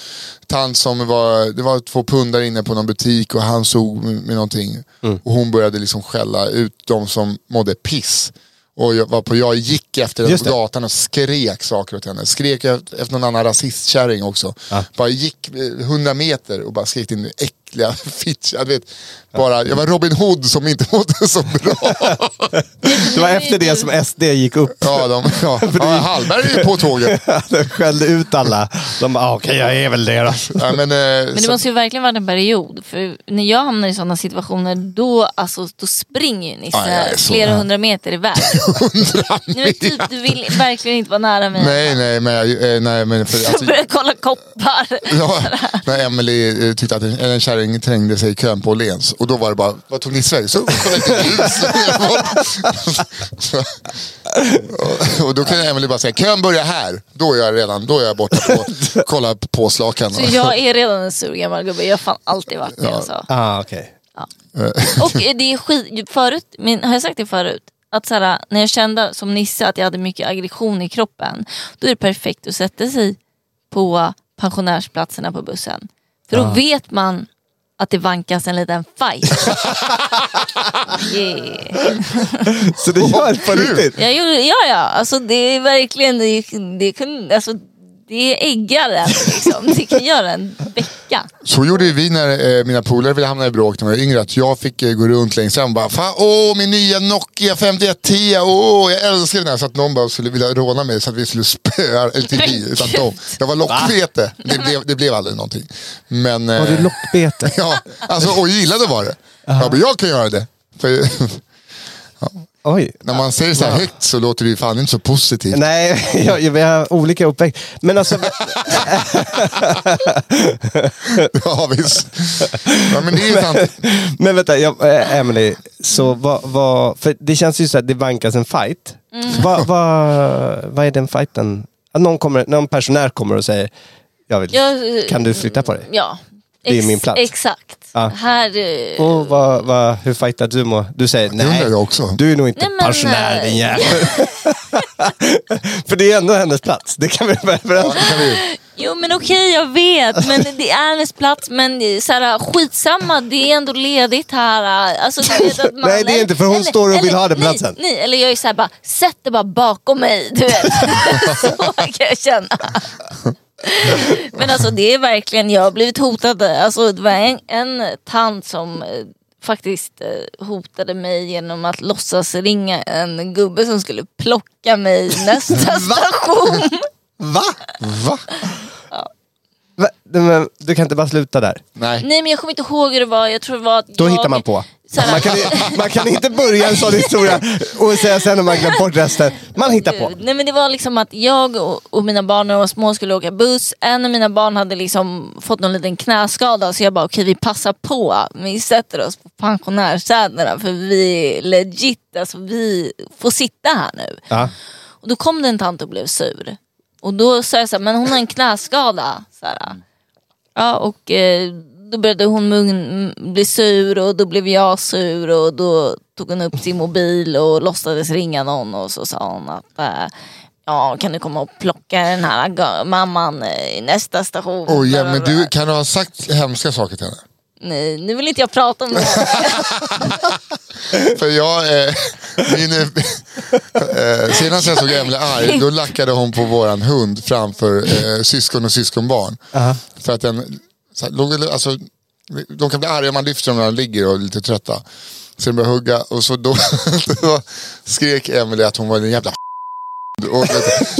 Speaker 3: tant som var, det var två pundare inne på någon butik och han såg med, med någonting
Speaker 5: Mm.
Speaker 3: och hon började liksom skälla ut de som mådde piss. Och jag, var på, jag gick efter den
Speaker 5: Just
Speaker 3: på
Speaker 5: det.
Speaker 3: gatan och skrek saker åt henne. Skrek efter efter någon annan rasistkärring också. Bara gick eh, hundra meter och bara skrek in äckliga fitt. Jag, vet, bara, jag var Robin Hood som inte mådde så bra.
Speaker 5: Det var efter det som SD gick upp.
Speaker 3: Ja, de, ja. ja Hallberg är ju på tåget.
Speaker 5: De skällde ut alla. De bara, ah, okej jag är väl det då.
Speaker 3: Ja, men, eh,
Speaker 4: Men det
Speaker 3: så,
Speaker 4: måste ju verkligen vara en period. För när jag hamnar i sådana situationer då, alltså, då springer ju Nisse
Speaker 3: Ja, jag är så-
Speaker 4: flera hundra meter iväg. Nej, men typ, du vill verkligen inte vara nära mig.
Speaker 3: nej, nej, men, jag- eh, nej, men för,
Speaker 4: Jag
Speaker 3: alltså,
Speaker 4: börjar kolla koppar.
Speaker 3: ja, när Emily eh, tyckte att en, eller en kärring trängde sig i kön på Åhléns. Och då var det bara, vad tog ni Sverige? Så kolla inte ljus. Så- och då kan Emelie bara säga, kön börjar här. Då är jag redan, då är jag borta på, kolla påslakan.
Speaker 4: Så jag är redan en sur gammal gubbe, jag har fan alltid varit det alltså.
Speaker 5: Ah, okej.
Speaker 4: Och det är skit, förut, men har jag sagt det förut? Att så här, när jag kände som Nisse att jag hade mycket aggression i kroppen, då är det perfekt att sätta sig på pensionärsplatserna på bussen. För då vet man att det vankas en liten fight. yeah.
Speaker 10: Så det gör på riktigt.
Speaker 4: jag gjorde, ja, ja, alltså det är verkligen, det, det, kan, alltså, det äggar en liksom. Det kan göra en vecka.
Speaker 3: Så gjorde ju vi när eh, mina polare ville hamna i bråk när jag var yngre. Att jag fick eh, gå runt längst fram och bara, Fan, åh min nya Nokia 5110, åh jag älskar den här. Så att någon bara skulle vilja råna mig så att vi skulle spöa, eller inte vi, utan de. Jag var lockbete. Det blev, det blev aldrig någonting. Men, eh,
Speaker 5: Var du lockbete?
Speaker 3: ja, alltså, och gillade var det. Jag bara, jag kan göra det. För,
Speaker 5: Oj.
Speaker 3: när man säger så här högt så låter det ju fan inte så positivt.
Speaker 5: Nej, jag, jag, vi har olika uppväxt. Men alltså,
Speaker 3: ja, visst. Ja, men det är ju sant.
Speaker 5: men vänta, jag, eh, Emily. Så vad, vad, för det känns ju så att det vankas en fight.
Speaker 4: Mm.
Speaker 5: Vad, vad, vad är den fighten? Att någon, kommer, någon pensionär kommer och säger, jag vill,
Speaker 4: Jag-
Speaker 5: kan du flytta på dig?
Speaker 4: Ja.
Speaker 5: Det är min plats.
Speaker 4: Exakt.
Speaker 5: Ja.
Speaker 4: Här, eh,
Speaker 5: Och vad, vad, hur fightar du? Mo? Du säger,
Speaker 3: Det undrar
Speaker 5: nej,
Speaker 3: jag också.
Speaker 5: du är nog inte
Speaker 4: Nej, men,
Speaker 5: pensionär din
Speaker 4: eh,
Speaker 5: jävel. för det är ändå hennes plats. Det kan vi vara överens om.
Speaker 4: Jo men okej jag vet, men det är hennes plats men det är så här, skitsamma det är ändå ledigt här. Alltså, du vet att man,
Speaker 5: Nej, det är inte, för hon står och vill ha den
Speaker 4: nej,
Speaker 5: platsen.
Speaker 4: Nej, eller jag är så här, bara, sätt det bara bakom mig. Du vet. så kan jag känna. Men alltså det är verkligen, jag har blivit hotad. Alltså, det var en, en tant som eh, faktiskt eh, hotade mig genom att låtsas ringa en gubbe som skulle plocka mig nästa station.
Speaker 5: Va? Va? Va? Men, du kan inte bara sluta där.
Speaker 3: Nej.
Speaker 4: Nej men jag kommer inte ihåg hur det var, jag tror det var att
Speaker 5: Då
Speaker 4: jag...
Speaker 5: hittar man på.
Speaker 4: Så här-
Speaker 5: Man kan, man kan inte börja en sån historia och säga sen när man glömt bort resten. Man hittar på.
Speaker 4: Nej men det var liksom att jag och, och mina barn när de var små skulle åka buss. En av mina barn hade liksom fått någon liten knäskada så jag bara okej vi passar på. Vi sätter oss på pensionärssätena för vi är legit, alltså vi får sitta här nu.
Speaker 5: Ja.
Speaker 4: Och då kom det en tant och blev sur. Och då sa jag så här, men hon har en knäskada. Så
Speaker 3: Mm.
Speaker 4: här. Ja, och eh, då började hon mun- m- bli sur och då blev jag sur och då tog hon upp sin mobil och låtsades ringa någon och så sa hon att eh, ja, kan du komma och plocka den här ga- mamman eh, i nästa station?
Speaker 3: Oj, ja, men du,
Speaker 4: Blablabla.
Speaker 3: kan du ha sagt hemska saker till henne?
Speaker 4: Nej, nu vill inte jag prata om det här.
Speaker 3: För jag, eh, min, eh, senast jag såg Emelie arg, då lackade hon på våran hund framför eh, syskon och syskonbarn. För att den, så här, låg- alltså, de kan bli arga om man lyfter dem när de ligger och är lite trötta. Så de började hugga och så då, då skrek Emelie att hon var en jävla och,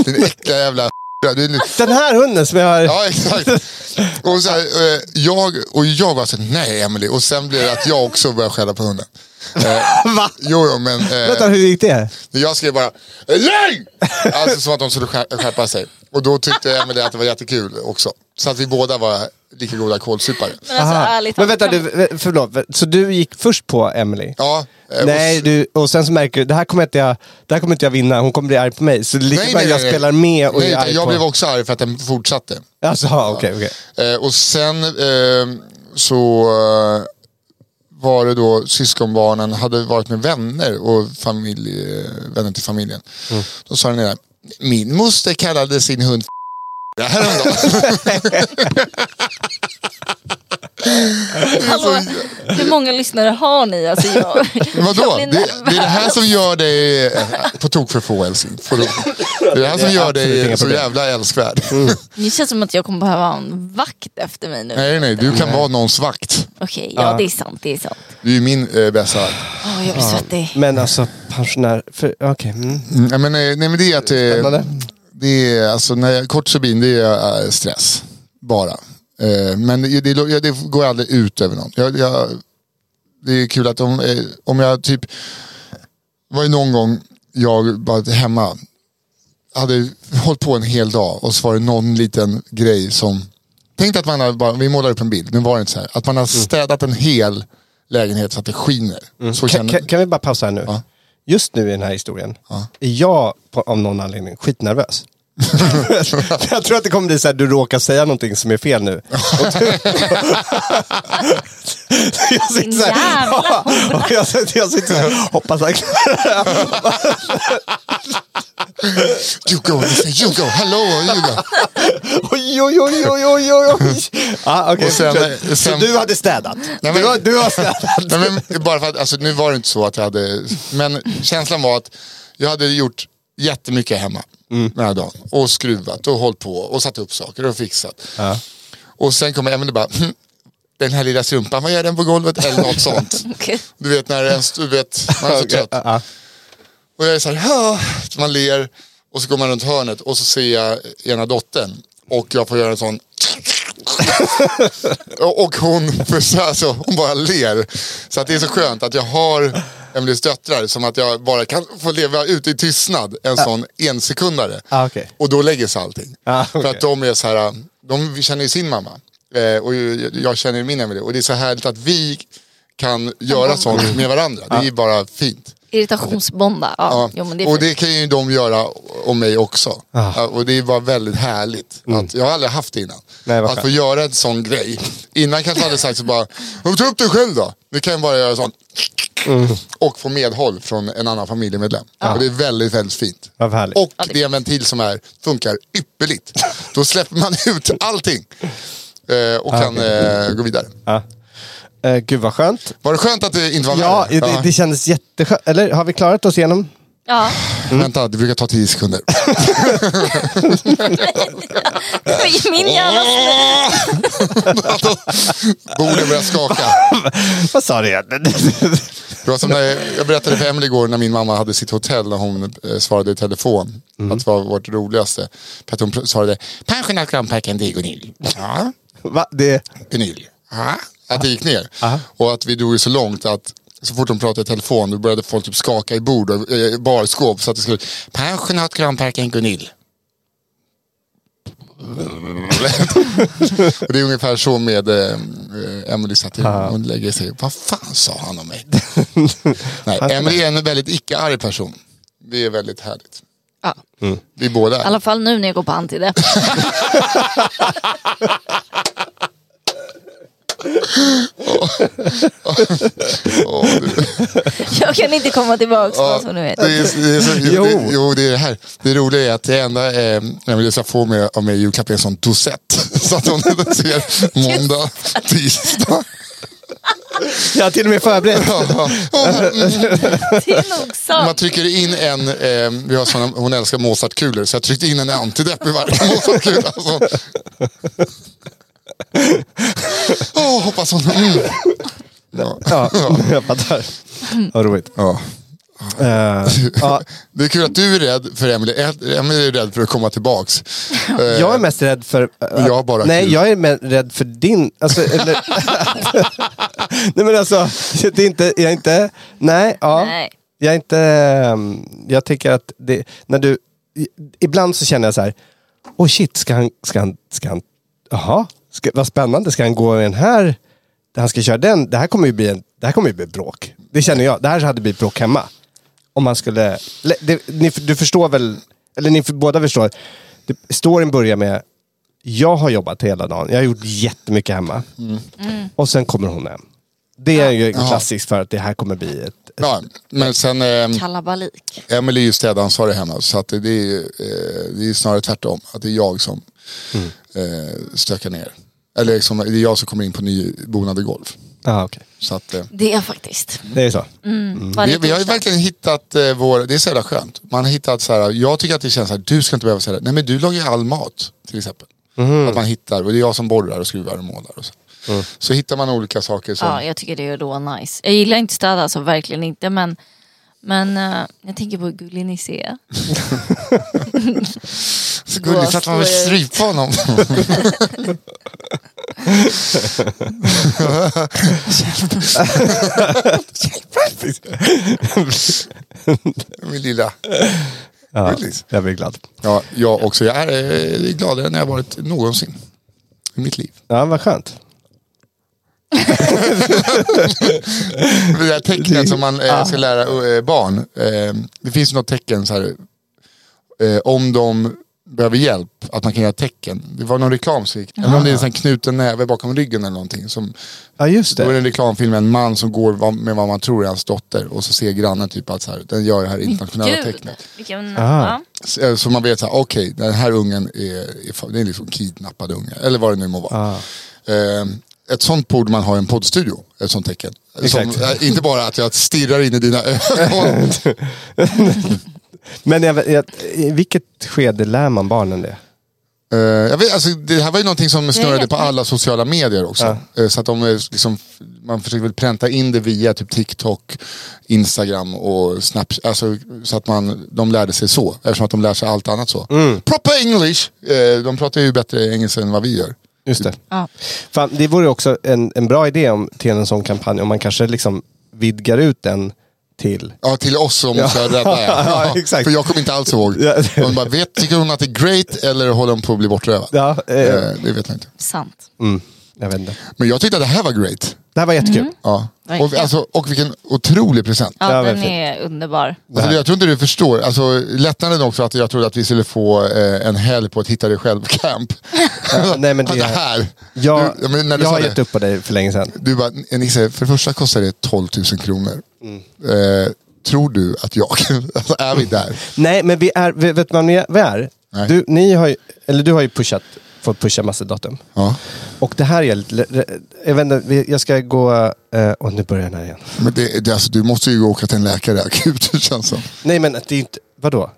Speaker 3: Din äckliga jävla du är en
Speaker 5: Den här hunden som jag har...
Speaker 3: Ja, exakt. Och, så här, eh, jag, och jag var så här, nej Emily. Och sen blev det att jag också började skälla på hunden. Eh,
Speaker 5: Va?
Speaker 3: jo, jo, men
Speaker 5: Vänta,
Speaker 3: eh,
Speaker 5: hur gick det?
Speaker 3: jag skrev bara, "Eh, nej! Alltså som att de skulle skär- skärpa sig. Och då tyckte Emily att det var jättekul också. Så att vi båda var lika goda kålsupare.
Speaker 4: Men alltså
Speaker 5: Aha.
Speaker 4: ärligt
Speaker 5: Men
Speaker 4: talat,
Speaker 5: vänta,
Speaker 4: kan-
Speaker 5: du, förlåt. Så du gick först på Emily?
Speaker 3: Ja, eh, och
Speaker 5: Nej, du, och sen så märker du, det här kommer inte jag, det här kommer inte jag vinna, hon kommer bli arg på mig. Så det är lika bra jag spelar med och
Speaker 3: nej,
Speaker 5: är arg
Speaker 3: Jag
Speaker 5: på...
Speaker 3: blev också arg för att den fortsatte.
Speaker 5: Alltså, ja, okej, okej.
Speaker 3: Eh, och sen eh, så eh, var det då syskonbarnen hade varit med vänner och familj, eh, vänner till familjen.
Speaker 5: Mm.
Speaker 3: Då sa den ena, min moster kallade sin hund f- häromdagen. Alltså,
Speaker 4: Hallå, hur många lyssnare har ni? Alltså jag,
Speaker 3: Vadå?
Speaker 4: jag
Speaker 3: Det,
Speaker 4: blir
Speaker 3: det är det här som gör dig eh, på tok för få älskling. Får du- Det är det här som
Speaker 5: Det är
Speaker 3: gör
Speaker 5: absolut inga
Speaker 3: dig så
Speaker 5: problem. Mm.
Speaker 3: jävla älskvärd.
Speaker 4: Det känns som att jag kommer behöva ha en vakt efter mig nu.
Speaker 3: Nej, nej, du kan vara någons vakt.
Speaker 4: Okej, ja det är sant. Det är sant.
Speaker 3: Du är ju min eh, bästa vakt.
Speaker 4: Åh, jag blir svettig.
Speaker 5: Men alltså, pensionär... för- Okej. mm.
Speaker 3: Mm, nej, men, eh, nej men det är att
Speaker 5: Spännande.
Speaker 3: eh, det är, alltså, när jag, kort subin det är eh, stress. Bara. Eh, men det, det, det, det går aldrig ut över någon. Jag, jag, det är kul att om, eh, om jag typ, var ju någon gång jag var hemma, hade hållit på en hel dag och så var det någon liten grej som Tänk dig att man har, bara, vi målar upp en bild, nu var det inte så här. Att man har städat en hel lägenhet så att det skiner. Så
Speaker 5: Kan,
Speaker 3: känner,
Speaker 5: kan, kan vi bara pausa här nu? Just nu i den här historien är jag på, av någon anledning skitnervös. jag tror att det kommer bli så här, du råkar säga någonting som är fel nu. Och du- Så jag sitter så här,
Speaker 2: Jävla
Speaker 5: och jag sitter, jag sitter så här, hoppas han
Speaker 3: You go, Lisa, you go, hello, you go.
Speaker 5: Oj, oj, oj, oj, oj, oj. Ah, okay,
Speaker 3: Och sen-
Speaker 5: sen, så
Speaker 3: sen-
Speaker 5: du hade städat?
Speaker 3: Nej,
Speaker 5: du, har, du har städat?
Speaker 3: Nej, men bara för att, alltså, nu var det inte så att jag hade, men känslan var att jag hade gjort jättemycket hemma den här dagen. Och skruvat och hållit på och satt upp saker och fixat. Och sen kommer Emelie bara, "Hm, den här lilla strumpan, vad gör den på golvet? Eller något sånt. Du vet när ens, du vet, man är så trött. Och jag är så här, "Ja." så man ler. Och så går man runt hörnet och så ser jag ena dottern. Och jag får göra en sån och och hon, för så- alltså, hon bara ler. Så att det är så skönt att jag har Emelies döttrar som att jag bara kan få leva ut i tystnad en sån ensekundare.
Speaker 5: Ah, okej.
Speaker 3: Och då lägger sig allting.
Speaker 5: Ah, okej.
Speaker 3: För att de är så här, de känner ju sin mamma. Eh, och ju- jag känner ju min Emelie. Och det är så härligt att vi kan göra sånt med varandra. Det är
Speaker 5: Ah.
Speaker 3: ju bara fint.
Speaker 4: Irritationsbomba. Ja,
Speaker 3: Ja.
Speaker 4: Jo, men det är
Speaker 3: och
Speaker 4: fint.
Speaker 3: det kan ju de göra om mig också.
Speaker 5: Ah.
Speaker 3: Ja, Och det var väldigt härligt. Att, jag har aldrig haft det innan.
Speaker 5: Mm. Nej, vad
Speaker 3: att få
Speaker 5: skönt.
Speaker 3: göra en sån grej. Innan kanske jag hade sagt så bara, "Men ta upp dig själv då. Nu kan jag bara göra sån.
Speaker 5: Mm.
Speaker 3: Och få medhåll från en annan familjemedlem. Och det är väldigt, väldigt fint.
Speaker 5: Vad härligt.
Speaker 3: Och det är en ventil som är, funkar ypperligt. Då släpper man ut allting. Eh, och kan eh, gå vidare.
Speaker 5: Eh, gud vad skönt.
Speaker 3: Var det skönt att det inte var
Speaker 5: Ja,
Speaker 3: värre?
Speaker 5: det, det kändes jätteskönt. Eller har vi klarat oss igenom?
Speaker 4: Ja.
Speaker 3: Vänta, det brukar ta tio sekunder.
Speaker 4: I min hjärna
Speaker 3: Borden börjar skaka.
Speaker 5: Vad sa du egentligen?
Speaker 3: Det var som när jag berättade för Emelie igår när min mamma hade sitt hotell när hon eh, svarade i telefon. Att det var vårt roligaste. För att hon pr- svarade pensionärsgrannparken, det är Gunhild. Ja,
Speaker 5: Va? Det...
Speaker 3: Gunhild. Ja. Att det gick ner. Och att vi drog det så långt att så fort hon pratade i telefon då började folk typ skaka i bord och eh, barskåp så att det skulle pensionärsgrannparken Gunhild. och det är ungefär så med eh, eh, Emily satt hon lägger sig. Vad fan sa han om mig? Nej, Emily är en väldigt icke-arg person. Det är väldigt härligt.
Speaker 4: Ja.
Speaker 3: Vi båda
Speaker 4: I
Speaker 3: är.
Speaker 4: alla fall nu när jag går på antidepp.
Speaker 3: Åh, du-
Speaker 4: Jag kan inte komma tillbaka vad som du vet.
Speaker 3: det är, det är så, jo.
Speaker 5: Jo.
Speaker 3: Det, jo, det är det här. Det roliga är att det enda eh, Emelie ska få med, av mig i julklapp är en sån dosett. Så att hon ser måndag, tisdag.
Speaker 5: Jag har till och med förberett.
Speaker 3: Ja. Mm.
Speaker 4: Det är nog
Speaker 3: Man
Speaker 4: sant.
Speaker 3: trycker in en, eh, vi har såna, hon älskar Mozartkulor, så jag tryckte in en antidepp i varje Mozartkula. Alltså. Åh, hoppas hon... Mm. Ja.
Speaker 5: Ja, jag fattar. Vad roligt.
Speaker 3: Ja.
Speaker 5: Eh, ja,
Speaker 3: Det är kul att du är rädd för Emelie. Emelie är rädd för att komma tillbaks. Eh,
Speaker 5: jag är mest rädd för... eh,
Speaker 3: Jag bara
Speaker 5: nej,
Speaker 3: kul.
Speaker 5: jag är mer rädd för din... Alltså, eller, nej men alltså, det är inte... Jag är inte... Nej, ja.
Speaker 4: Nej.
Speaker 5: Jag är inte... ehm, Jag tycker att det... När du... i- Ibland så känner jag så här... Åh oh shit, ska han... Ska han... Ska han jaha, ska, vad spännande. Ska han gå i den här... Han ska köra den. Det här kommer ju bli, en, det här kommer ju bli bråk. Det känner jag. Det här hade blivit bråk hemma. Om man skulle... le- Det, ni, du förstår väl... Eller ni för, båda förstår. Det, storyn börjar med... Jag har jobbat hela dagen. Jag har gjort jättemycket hemma. Och sen kommer hon hem. Det är ju klassiskt för att det här kommer bli ett...
Speaker 3: Ja, men sen, eh,
Speaker 4: Kalabalik.
Speaker 3: Emelie är ju städansvarig hemma, så att det, det är, ju, eh, det är ju snarare tvärtom. Att det är jag som eh, stökar ner. Eller liksom, det är jag som kommer in på nybonade golv.
Speaker 5: Ja, okej.
Speaker 3: Så att, eh,
Speaker 4: Det är faktiskt.
Speaker 5: Det är så.
Speaker 3: vi,
Speaker 4: Varje
Speaker 3: vi har ju
Speaker 4: torsdag.
Speaker 3: verkligen hittat eh, vår, det är så jävla skönt. Man har hittat så här, jag tycker att det känns så här, du ska inte behöva säga det. Nej men du lagar ju all mat till exempel. Att man hittar, och det är jag som borrar och skruvar och målar. Och så. så hittar man olika saker som,
Speaker 4: Ja, jag tycker det är då nice. Jag gillar inte städa, alltså verkligen inte. Men, men eh, jag tänker på hur gullig ni ser.
Speaker 3: så gulligt så att man vill
Speaker 4: Blåsor.
Speaker 3: strypa honom. Min lilla.
Speaker 5: Ja,
Speaker 3: Gullis.
Speaker 5: jag blir glad.
Speaker 3: Ja, jag också. Jag är eh, gladare än jag varit någonsin. i mitt liv.
Speaker 5: Ja, vad skönt.
Speaker 3: det där tecknet som man eh, ska lära eh, barn. Eh, det finns något tecken så här. Eh, om de behöver hjälp, att man kan göra tecken. Det var någon reklam som gick. Eller om det är en sån här knuten näve bakom ryggen eller någonting. Som,
Speaker 5: Ja, just
Speaker 3: då är det
Speaker 5: det.
Speaker 3: en reklamfilm med en man som går va- med vad man tror är hans dotter. Och så ser grannen typ att så här, den gör det här internationella
Speaker 4: Gud,
Speaker 3: tecknet. eh,
Speaker 4: vilken...
Speaker 5: Aha.
Speaker 4: Ja.
Speaker 3: Så, så man vet så här, okej, den här ungen är, är, fa- det är liksom kidnappad unge. Eller vad det nu må vara.
Speaker 5: Ja.
Speaker 3: Eh, ett sånt borde man ha i en poddstudio, ett sånt tecken. Som,
Speaker 5: Exakt.
Speaker 3: eh, inte bara att jag stirrar in i dina ögon.
Speaker 5: Men jag, jag, i vilket skede lär man barnen det?
Speaker 3: Eh, jag vet, alltså, det här var ju någonting som snurrade
Speaker 4: vet.
Speaker 3: på alla sociala medier också. Eh, så att de, eh, liksom, man försöker väl pränta in det via typ TikTok, Instagram och Snapchat. Alltså, så att man, de lärde sig så, eftersom att de lär sig allt annat så.
Speaker 5: Mm.
Speaker 3: Proper English! Eh, de pratar ju bättre engelska än vad vi gör.
Speaker 5: Just det.
Speaker 4: Ja.
Speaker 5: Fan, det vore också en, en bra idé om, till en sån kampanj, om man kanske liksom vidgar ut den till...
Speaker 3: Ja, till oss som
Speaker 5: Ja.
Speaker 3: ska rädda er.
Speaker 5: Ja, exakt.
Speaker 3: För jag kommer inte alls ihåg.
Speaker 5: Ja.
Speaker 3: Hon bara, vet, tycker hon att det är great eller håller hon på att bli bortrövad?
Speaker 5: Ja, eh,
Speaker 3: Eh, det vet man inte.
Speaker 4: Sant.
Speaker 5: mm, jag vet inte.
Speaker 3: Men jag tyckte att det här var great.
Speaker 5: Det här var jättekul.
Speaker 3: Ja. Och,
Speaker 4: Verkligen.
Speaker 3: alltså, och vilken otrolig present.
Speaker 4: Ja,
Speaker 5: Ja,
Speaker 4: den
Speaker 5: verkligen.
Speaker 4: är underbar.
Speaker 3: Alltså, jag tror inte du förstår. Alltså, lättnaden också att jag trodde att vi skulle få eh, en helg på att hitta dig själv-camp.
Speaker 5: nej, men
Speaker 3: det...
Speaker 5: det-
Speaker 3: här.
Speaker 5: Jag,
Speaker 3: Du- ja, men när du
Speaker 5: jag
Speaker 3: sa
Speaker 5: har
Speaker 3: det-
Speaker 5: gett upp på dig för länge sedan.
Speaker 3: Du bara, Nisse, för det första kostar det 12 000 kronor.
Speaker 5: Mm.
Speaker 3: Eh, tror du att jag... alltså, är vi där?
Speaker 5: Nej, men vi är, vet vet man vad vi är?
Speaker 3: Nej.
Speaker 5: Du, ni har ju, eller du har ju pushat, fått pusha massa datum.
Speaker 3: Ja.
Speaker 5: Och det här är lite... Jag, vet inte, vi- jag ska gå... Eh, och nu börjar den här igen.
Speaker 3: Men det, det, alltså, du måste ju åka till en läkare akut, det känns som.
Speaker 5: Nej, men det är ju inte... Vadå?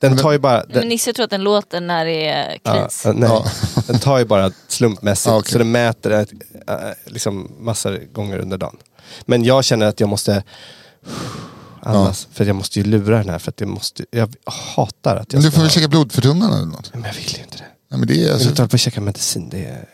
Speaker 5: Den tar ju bara... Den,
Speaker 4: Men Nisse tror att den låter när det är
Speaker 5: ja,
Speaker 4: kris.
Speaker 5: eh, nej.
Speaker 3: Ja.
Speaker 5: den tar ju bara slumpmässigt.
Speaker 3: Ja, okej.
Speaker 5: Så den mäter ett, eh, liksom massor gånger under dagen. Men jag känner att jag måste... Andas, För jag måste ju lura den här. För att det måste, jag hatar att jag
Speaker 3: Men du
Speaker 5: ska
Speaker 3: får väl
Speaker 5: ha-
Speaker 3: käka blodförtunnande eller något?
Speaker 5: Men jag vill ju inte det.
Speaker 3: Nej, men det är,
Speaker 5: Jag vill inte
Speaker 3: alltså,
Speaker 5: hålla på och käka medicin. Det är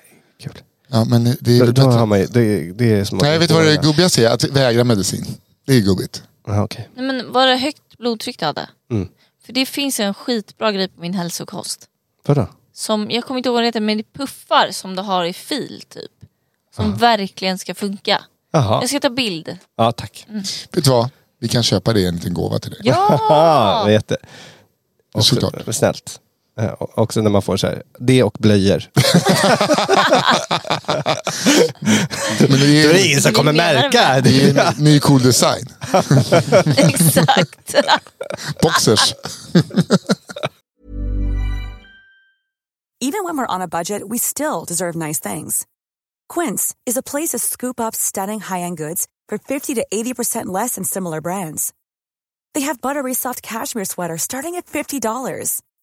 Speaker 5: kul.
Speaker 3: ja, men det är
Speaker 5: Då,
Speaker 3: väl
Speaker 5: då har
Speaker 3: bättre.
Speaker 5: man ju, det, det är som att-
Speaker 3: Nej, jag vet vad det gubbigaste är? Att vägra medicin. Det är gubbigt.
Speaker 5: Ja, okej.
Speaker 4: Nej, men var det högt blodtryck du hade?
Speaker 5: Mm.
Speaker 4: För det finns ju en skitbra grej på min hälsokost.
Speaker 5: Vadå?
Speaker 4: Som, jag kommer inte ihåg vad det heter, men det är puffar som du har i fil typ. Som verkligen ska funka.
Speaker 5: Jaha.
Speaker 4: Jag ska ta bild.
Speaker 5: Ja, tack.
Speaker 3: Vet du vad? Vi kan köpa det i en liten gåva till dig.
Speaker 5: Ja,
Speaker 4: Ja!
Speaker 5: jätte... Också,
Speaker 3: Såklart.
Speaker 5: Snällt. Eh, och- Också när man får så här, det och blöjor.
Speaker 3: Men det
Speaker 5: Det
Speaker 3: är,
Speaker 5: är ingen som kommer
Speaker 4: Vi menar
Speaker 5: märka.
Speaker 3: det är en ny cool design.
Speaker 4: Exakt.
Speaker 3: Boxers.
Speaker 1: Even when we're on a budget, we still deserve nice things. Quince is a place to scoop up stunning high end goods for 50 to 80% less than similar brands. They have buttery soft cashmere sweaters starting at $50,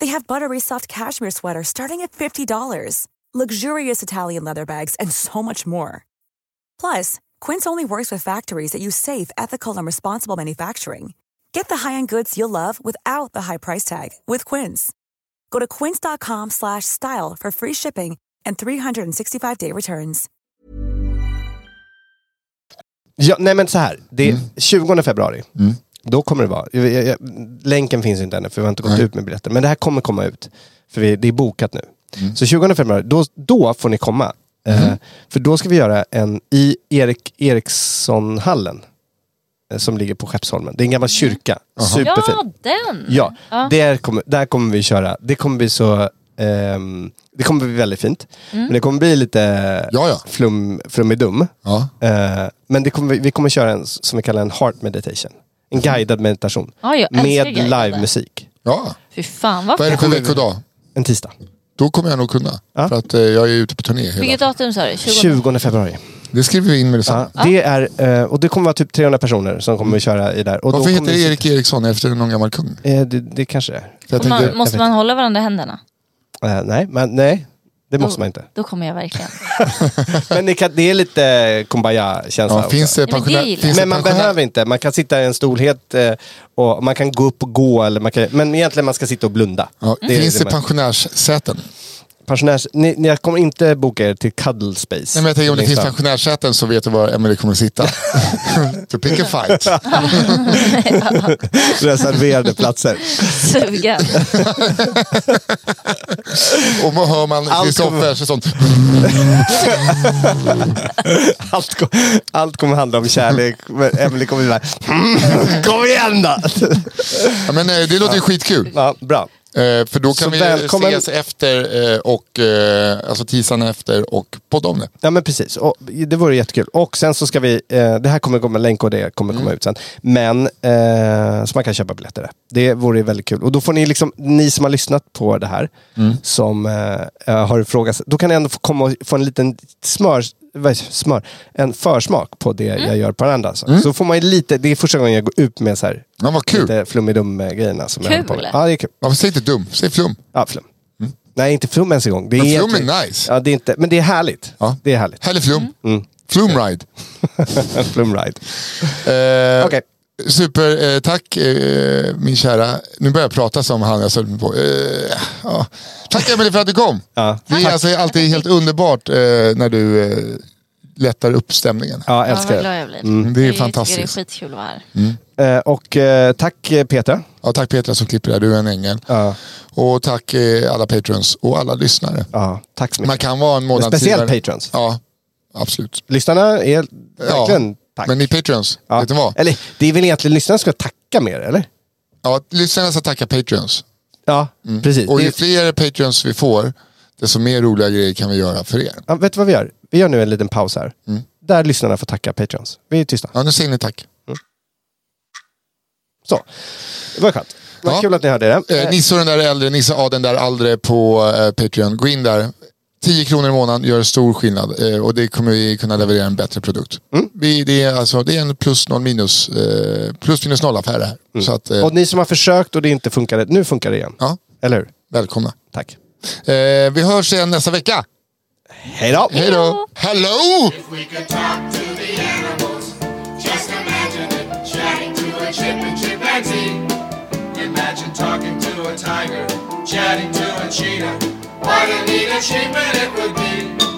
Speaker 1: They have buttery soft cashmere sweaters starting at $50, luxurious Italian leather bags, and so much more. Plus, Quince only works with factories that use safe, ethical, and responsible manufacturing. Get the high-end goods you'll love without the high price tag with Quince. Go to quince.com slash style for free shipping and 365-day returns.
Speaker 5: Ja, nej men så här, det är 20 februari.
Speaker 3: Mm.
Speaker 5: Då kommer det vara, jag, jag, jag, länken finns ju inte ännu för vi har inte gått
Speaker 3: Nej.
Speaker 5: ut med biljetter. Men det här kommer komma ut. För vi, det är bokat nu.
Speaker 3: Mm.
Speaker 5: Så 20 februari, då, då får ni komma. Eh, för då ska vi göra en i Erik Erikssonhallen. Eh, som ligger på Skeppsholmen. Det är en gammal kyrka.
Speaker 3: Mm.
Speaker 5: Superfin.
Speaker 4: Ja, den!
Speaker 5: Mm. Ja, Där, kommer, där kommer vi köra. Det kommer bli så... ehm, det kommer bli väldigt fint.
Speaker 4: Mm.
Speaker 5: Men det kommer bli lite
Speaker 3: Ja, ja.
Speaker 5: flum, flummidum.
Speaker 3: Ja.
Speaker 5: Eh, men det kommer, vi- vi kommer köra en s- som vi kallar en heart meditation. En
Speaker 3: Mm.
Speaker 5: guidad meditation.
Speaker 4: Ja, jag älskar
Speaker 5: med
Speaker 4: guidade.
Speaker 5: livemusik.
Speaker 3: ja.
Speaker 4: Fy fan vad
Speaker 3: Vad är det
Speaker 4: fett.
Speaker 3: för veckodag?
Speaker 5: En tisdag.
Speaker 3: Då kommer jag nog kunna.
Speaker 5: Ja.
Speaker 3: För att eh, jag är ute på turné hela.
Speaker 4: Vilket datum sa du? 20?
Speaker 5: 20 februari.
Speaker 3: Det skriver vi in med detsamma.
Speaker 5: Ja, det, är, eh, och det kommer vara typ 300 personer som kommer att köra i där. Och då
Speaker 3: Mm. Varför heter
Speaker 5: kommer
Speaker 3: det
Speaker 5: vi-
Speaker 3: Erik Eriksson efter någon gammal kung?
Speaker 5: Eh, det, det kanske det är.
Speaker 3: För jag
Speaker 4: man,
Speaker 3: tänkte,
Speaker 4: Måste man Mm. hålla varandra i händerna?
Speaker 5: Eh, nej, men nej. Det måste man inte.
Speaker 4: Då kommer jag verkligen.
Speaker 5: Men det, kan, det är lite kumbaya-känsla.
Speaker 3: Ja, finns
Speaker 5: också.
Speaker 3: det Alltså, pensionär-
Speaker 4: Nej, men det gillar finns
Speaker 5: men man behöver inte. Man kan sitta i en stol helt eh, och man kan gå upp och gå. Eller man kan, men egentligen man ska sitta och blunda.
Speaker 3: Ja,
Speaker 5: Mm. är
Speaker 3: Finns det
Speaker 5: man-
Speaker 3: pensionärssäten?
Speaker 5: pensionärs... Ni, ni, jag kommer inte boka er till Cuddle Space. Liksom.
Speaker 3: Nej, men jag tänker om det finns
Speaker 5: Längst fram.
Speaker 3: pensionärssäten så vet du var Emelie kommer sitta. to pick a fight.
Speaker 5: Reserverade platser.
Speaker 4: Sugen.
Speaker 3: Och man hör man
Speaker 5: Allt
Speaker 3: Kristoffer så sånt.
Speaker 5: Allt, kom, allt kommer handla om kärlek. Men Emelie kommer bli där. Kom igen då!
Speaker 3: Ja, men, eh, det låter ju skitkul.
Speaker 5: Ja, bra.
Speaker 3: Eh, för då
Speaker 5: Så
Speaker 3: kan vi
Speaker 5: välkommen-
Speaker 3: ses efter eh, och eh, alltså tisdagen efter och podda om det.
Speaker 5: Ja men precis, och det vore jättekul. Och sen så ska vi, eh, det här kommer komma länk och det kommer
Speaker 3: Mm.
Speaker 5: komma ut sen. Men, eh, så man kan köpa biljetter där. Det vore ju väldigt kul. Och då får ni liksom, ni som har lyssnat på det här,
Speaker 3: Mm.
Speaker 5: som eh, har ifrågasatt, då kan ni ändå få komma och få en liten smör, vad heter det? smör en försmak på det
Speaker 3: Mm.
Speaker 5: jag gör på Aranda. Så. så får man ju lite, det är första gången jag går ut med så här,
Speaker 3: Ja, vad kul.
Speaker 5: lite flummidum-grejerna som jag
Speaker 4: Kul.
Speaker 5: håller på med. Ja, det är kul.
Speaker 3: Varför säg inte dum, säg flum.
Speaker 5: Ja, flum. Nej, inte flum ens en gång. Det
Speaker 3: Mm. Men flum är
Speaker 5: egentligen-
Speaker 3: nice.
Speaker 5: Ja, det är inte, men det är härligt.
Speaker 3: Ja.
Speaker 5: Det är härligt.
Speaker 3: Härlig flum.
Speaker 5: Mm.
Speaker 3: Flumride.
Speaker 5: En flumride.
Speaker 3: Eh,
Speaker 5: Okej.
Speaker 3: Super, eh, tack eh, min kära. Nu börjar jag prata som han jag sökte på. Eh, ja. Tack Emelie för att du kom.
Speaker 5: Ja.
Speaker 3: Det är alltså alltid helt underbart eh, när du eh, lättar upp stämningen.
Speaker 5: Ja,
Speaker 4: Ja, vad
Speaker 5: älskar
Speaker 4: glad
Speaker 5: det.
Speaker 4: jag blir.
Speaker 3: Mm, det är
Speaker 4: Jag tycker Det är
Speaker 3: fantastiskt.
Speaker 4: skitkul att vara här.
Speaker 5: Eh, Och eh, tack eh, Petra.
Speaker 3: Ja, tack Petra som klipper det här, du är en ängel.
Speaker 5: Ja.
Speaker 3: Och tack eh, alla patrons och alla lyssnare.
Speaker 5: Ja, tack så
Speaker 3: Man
Speaker 5: mycket.
Speaker 3: kan vara en månad
Speaker 5: Speciellt
Speaker 3: tidigare.
Speaker 5: patrons.
Speaker 3: Ja, absolut.
Speaker 5: Lyssnarna är
Speaker 3: Ja,
Speaker 5: verkligen tack.
Speaker 3: Men ni patrons,
Speaker 5: Ja.
Speaker 3: vet ni vad?
Speaker 5: Eller det är väl egentligen lyssnarna som ska tacka mer, eller?
Speaker 3: Ja, lyssnarna ska tacka patrons.
Speaker 5: Ja, Mm. precis.
Speaker 3: Mm. Och
Speaker 5: Det-
Speaker 3: ju fler patrons vi får, desto mer roliga grejer kan vi göra för er.
Speaker 5: ja, vet du vad vi gör? Vi gör nu en liten paus här.
Speaker 3: Mm.
Speaker 5: Där lyssnarna får tacka patrons. Vi är tysta.
Speaker 3: Ja, nu säger ni tack.
Speaker 5: Så. Det var skönt. Vad
Speaker 3: Ja.
Speaker 5: kul att ni hörde det.
Speaker 3: Eh, Nisse och den där äldre, Nisse A den där äldre på eh, Patreon. Gå in där. 10 kronor i månaden gör stor skillnad eh, och det kommer vi kunna leverera en bättre produkt.
Speaker 5: Mm.
Speaker 3: Vi, det, är alltså, det är en plus noll minus, eh, plus minus noll affär det här. Så att, eh,
Speaker 5: Mm. Och ni som har försökt och det inte funkade, nu funkar det igen.
Speaker 3: ja,
Speaker 5: Eller hur?
Speaker 3: välkomna.
Speaker 5: Tack.
Speaker 3: Eh, vi hörs igen nästa vecka.
Speaker 5: Hej då!
Speaker 3: Hej då! Hello!
Speaker 2: We could talk to the animals. Just imagine it. Chatting to a chip and chimpanzee. Imagine talking to a tiger. Chatting to a cheetah. What a neat achievement it would be.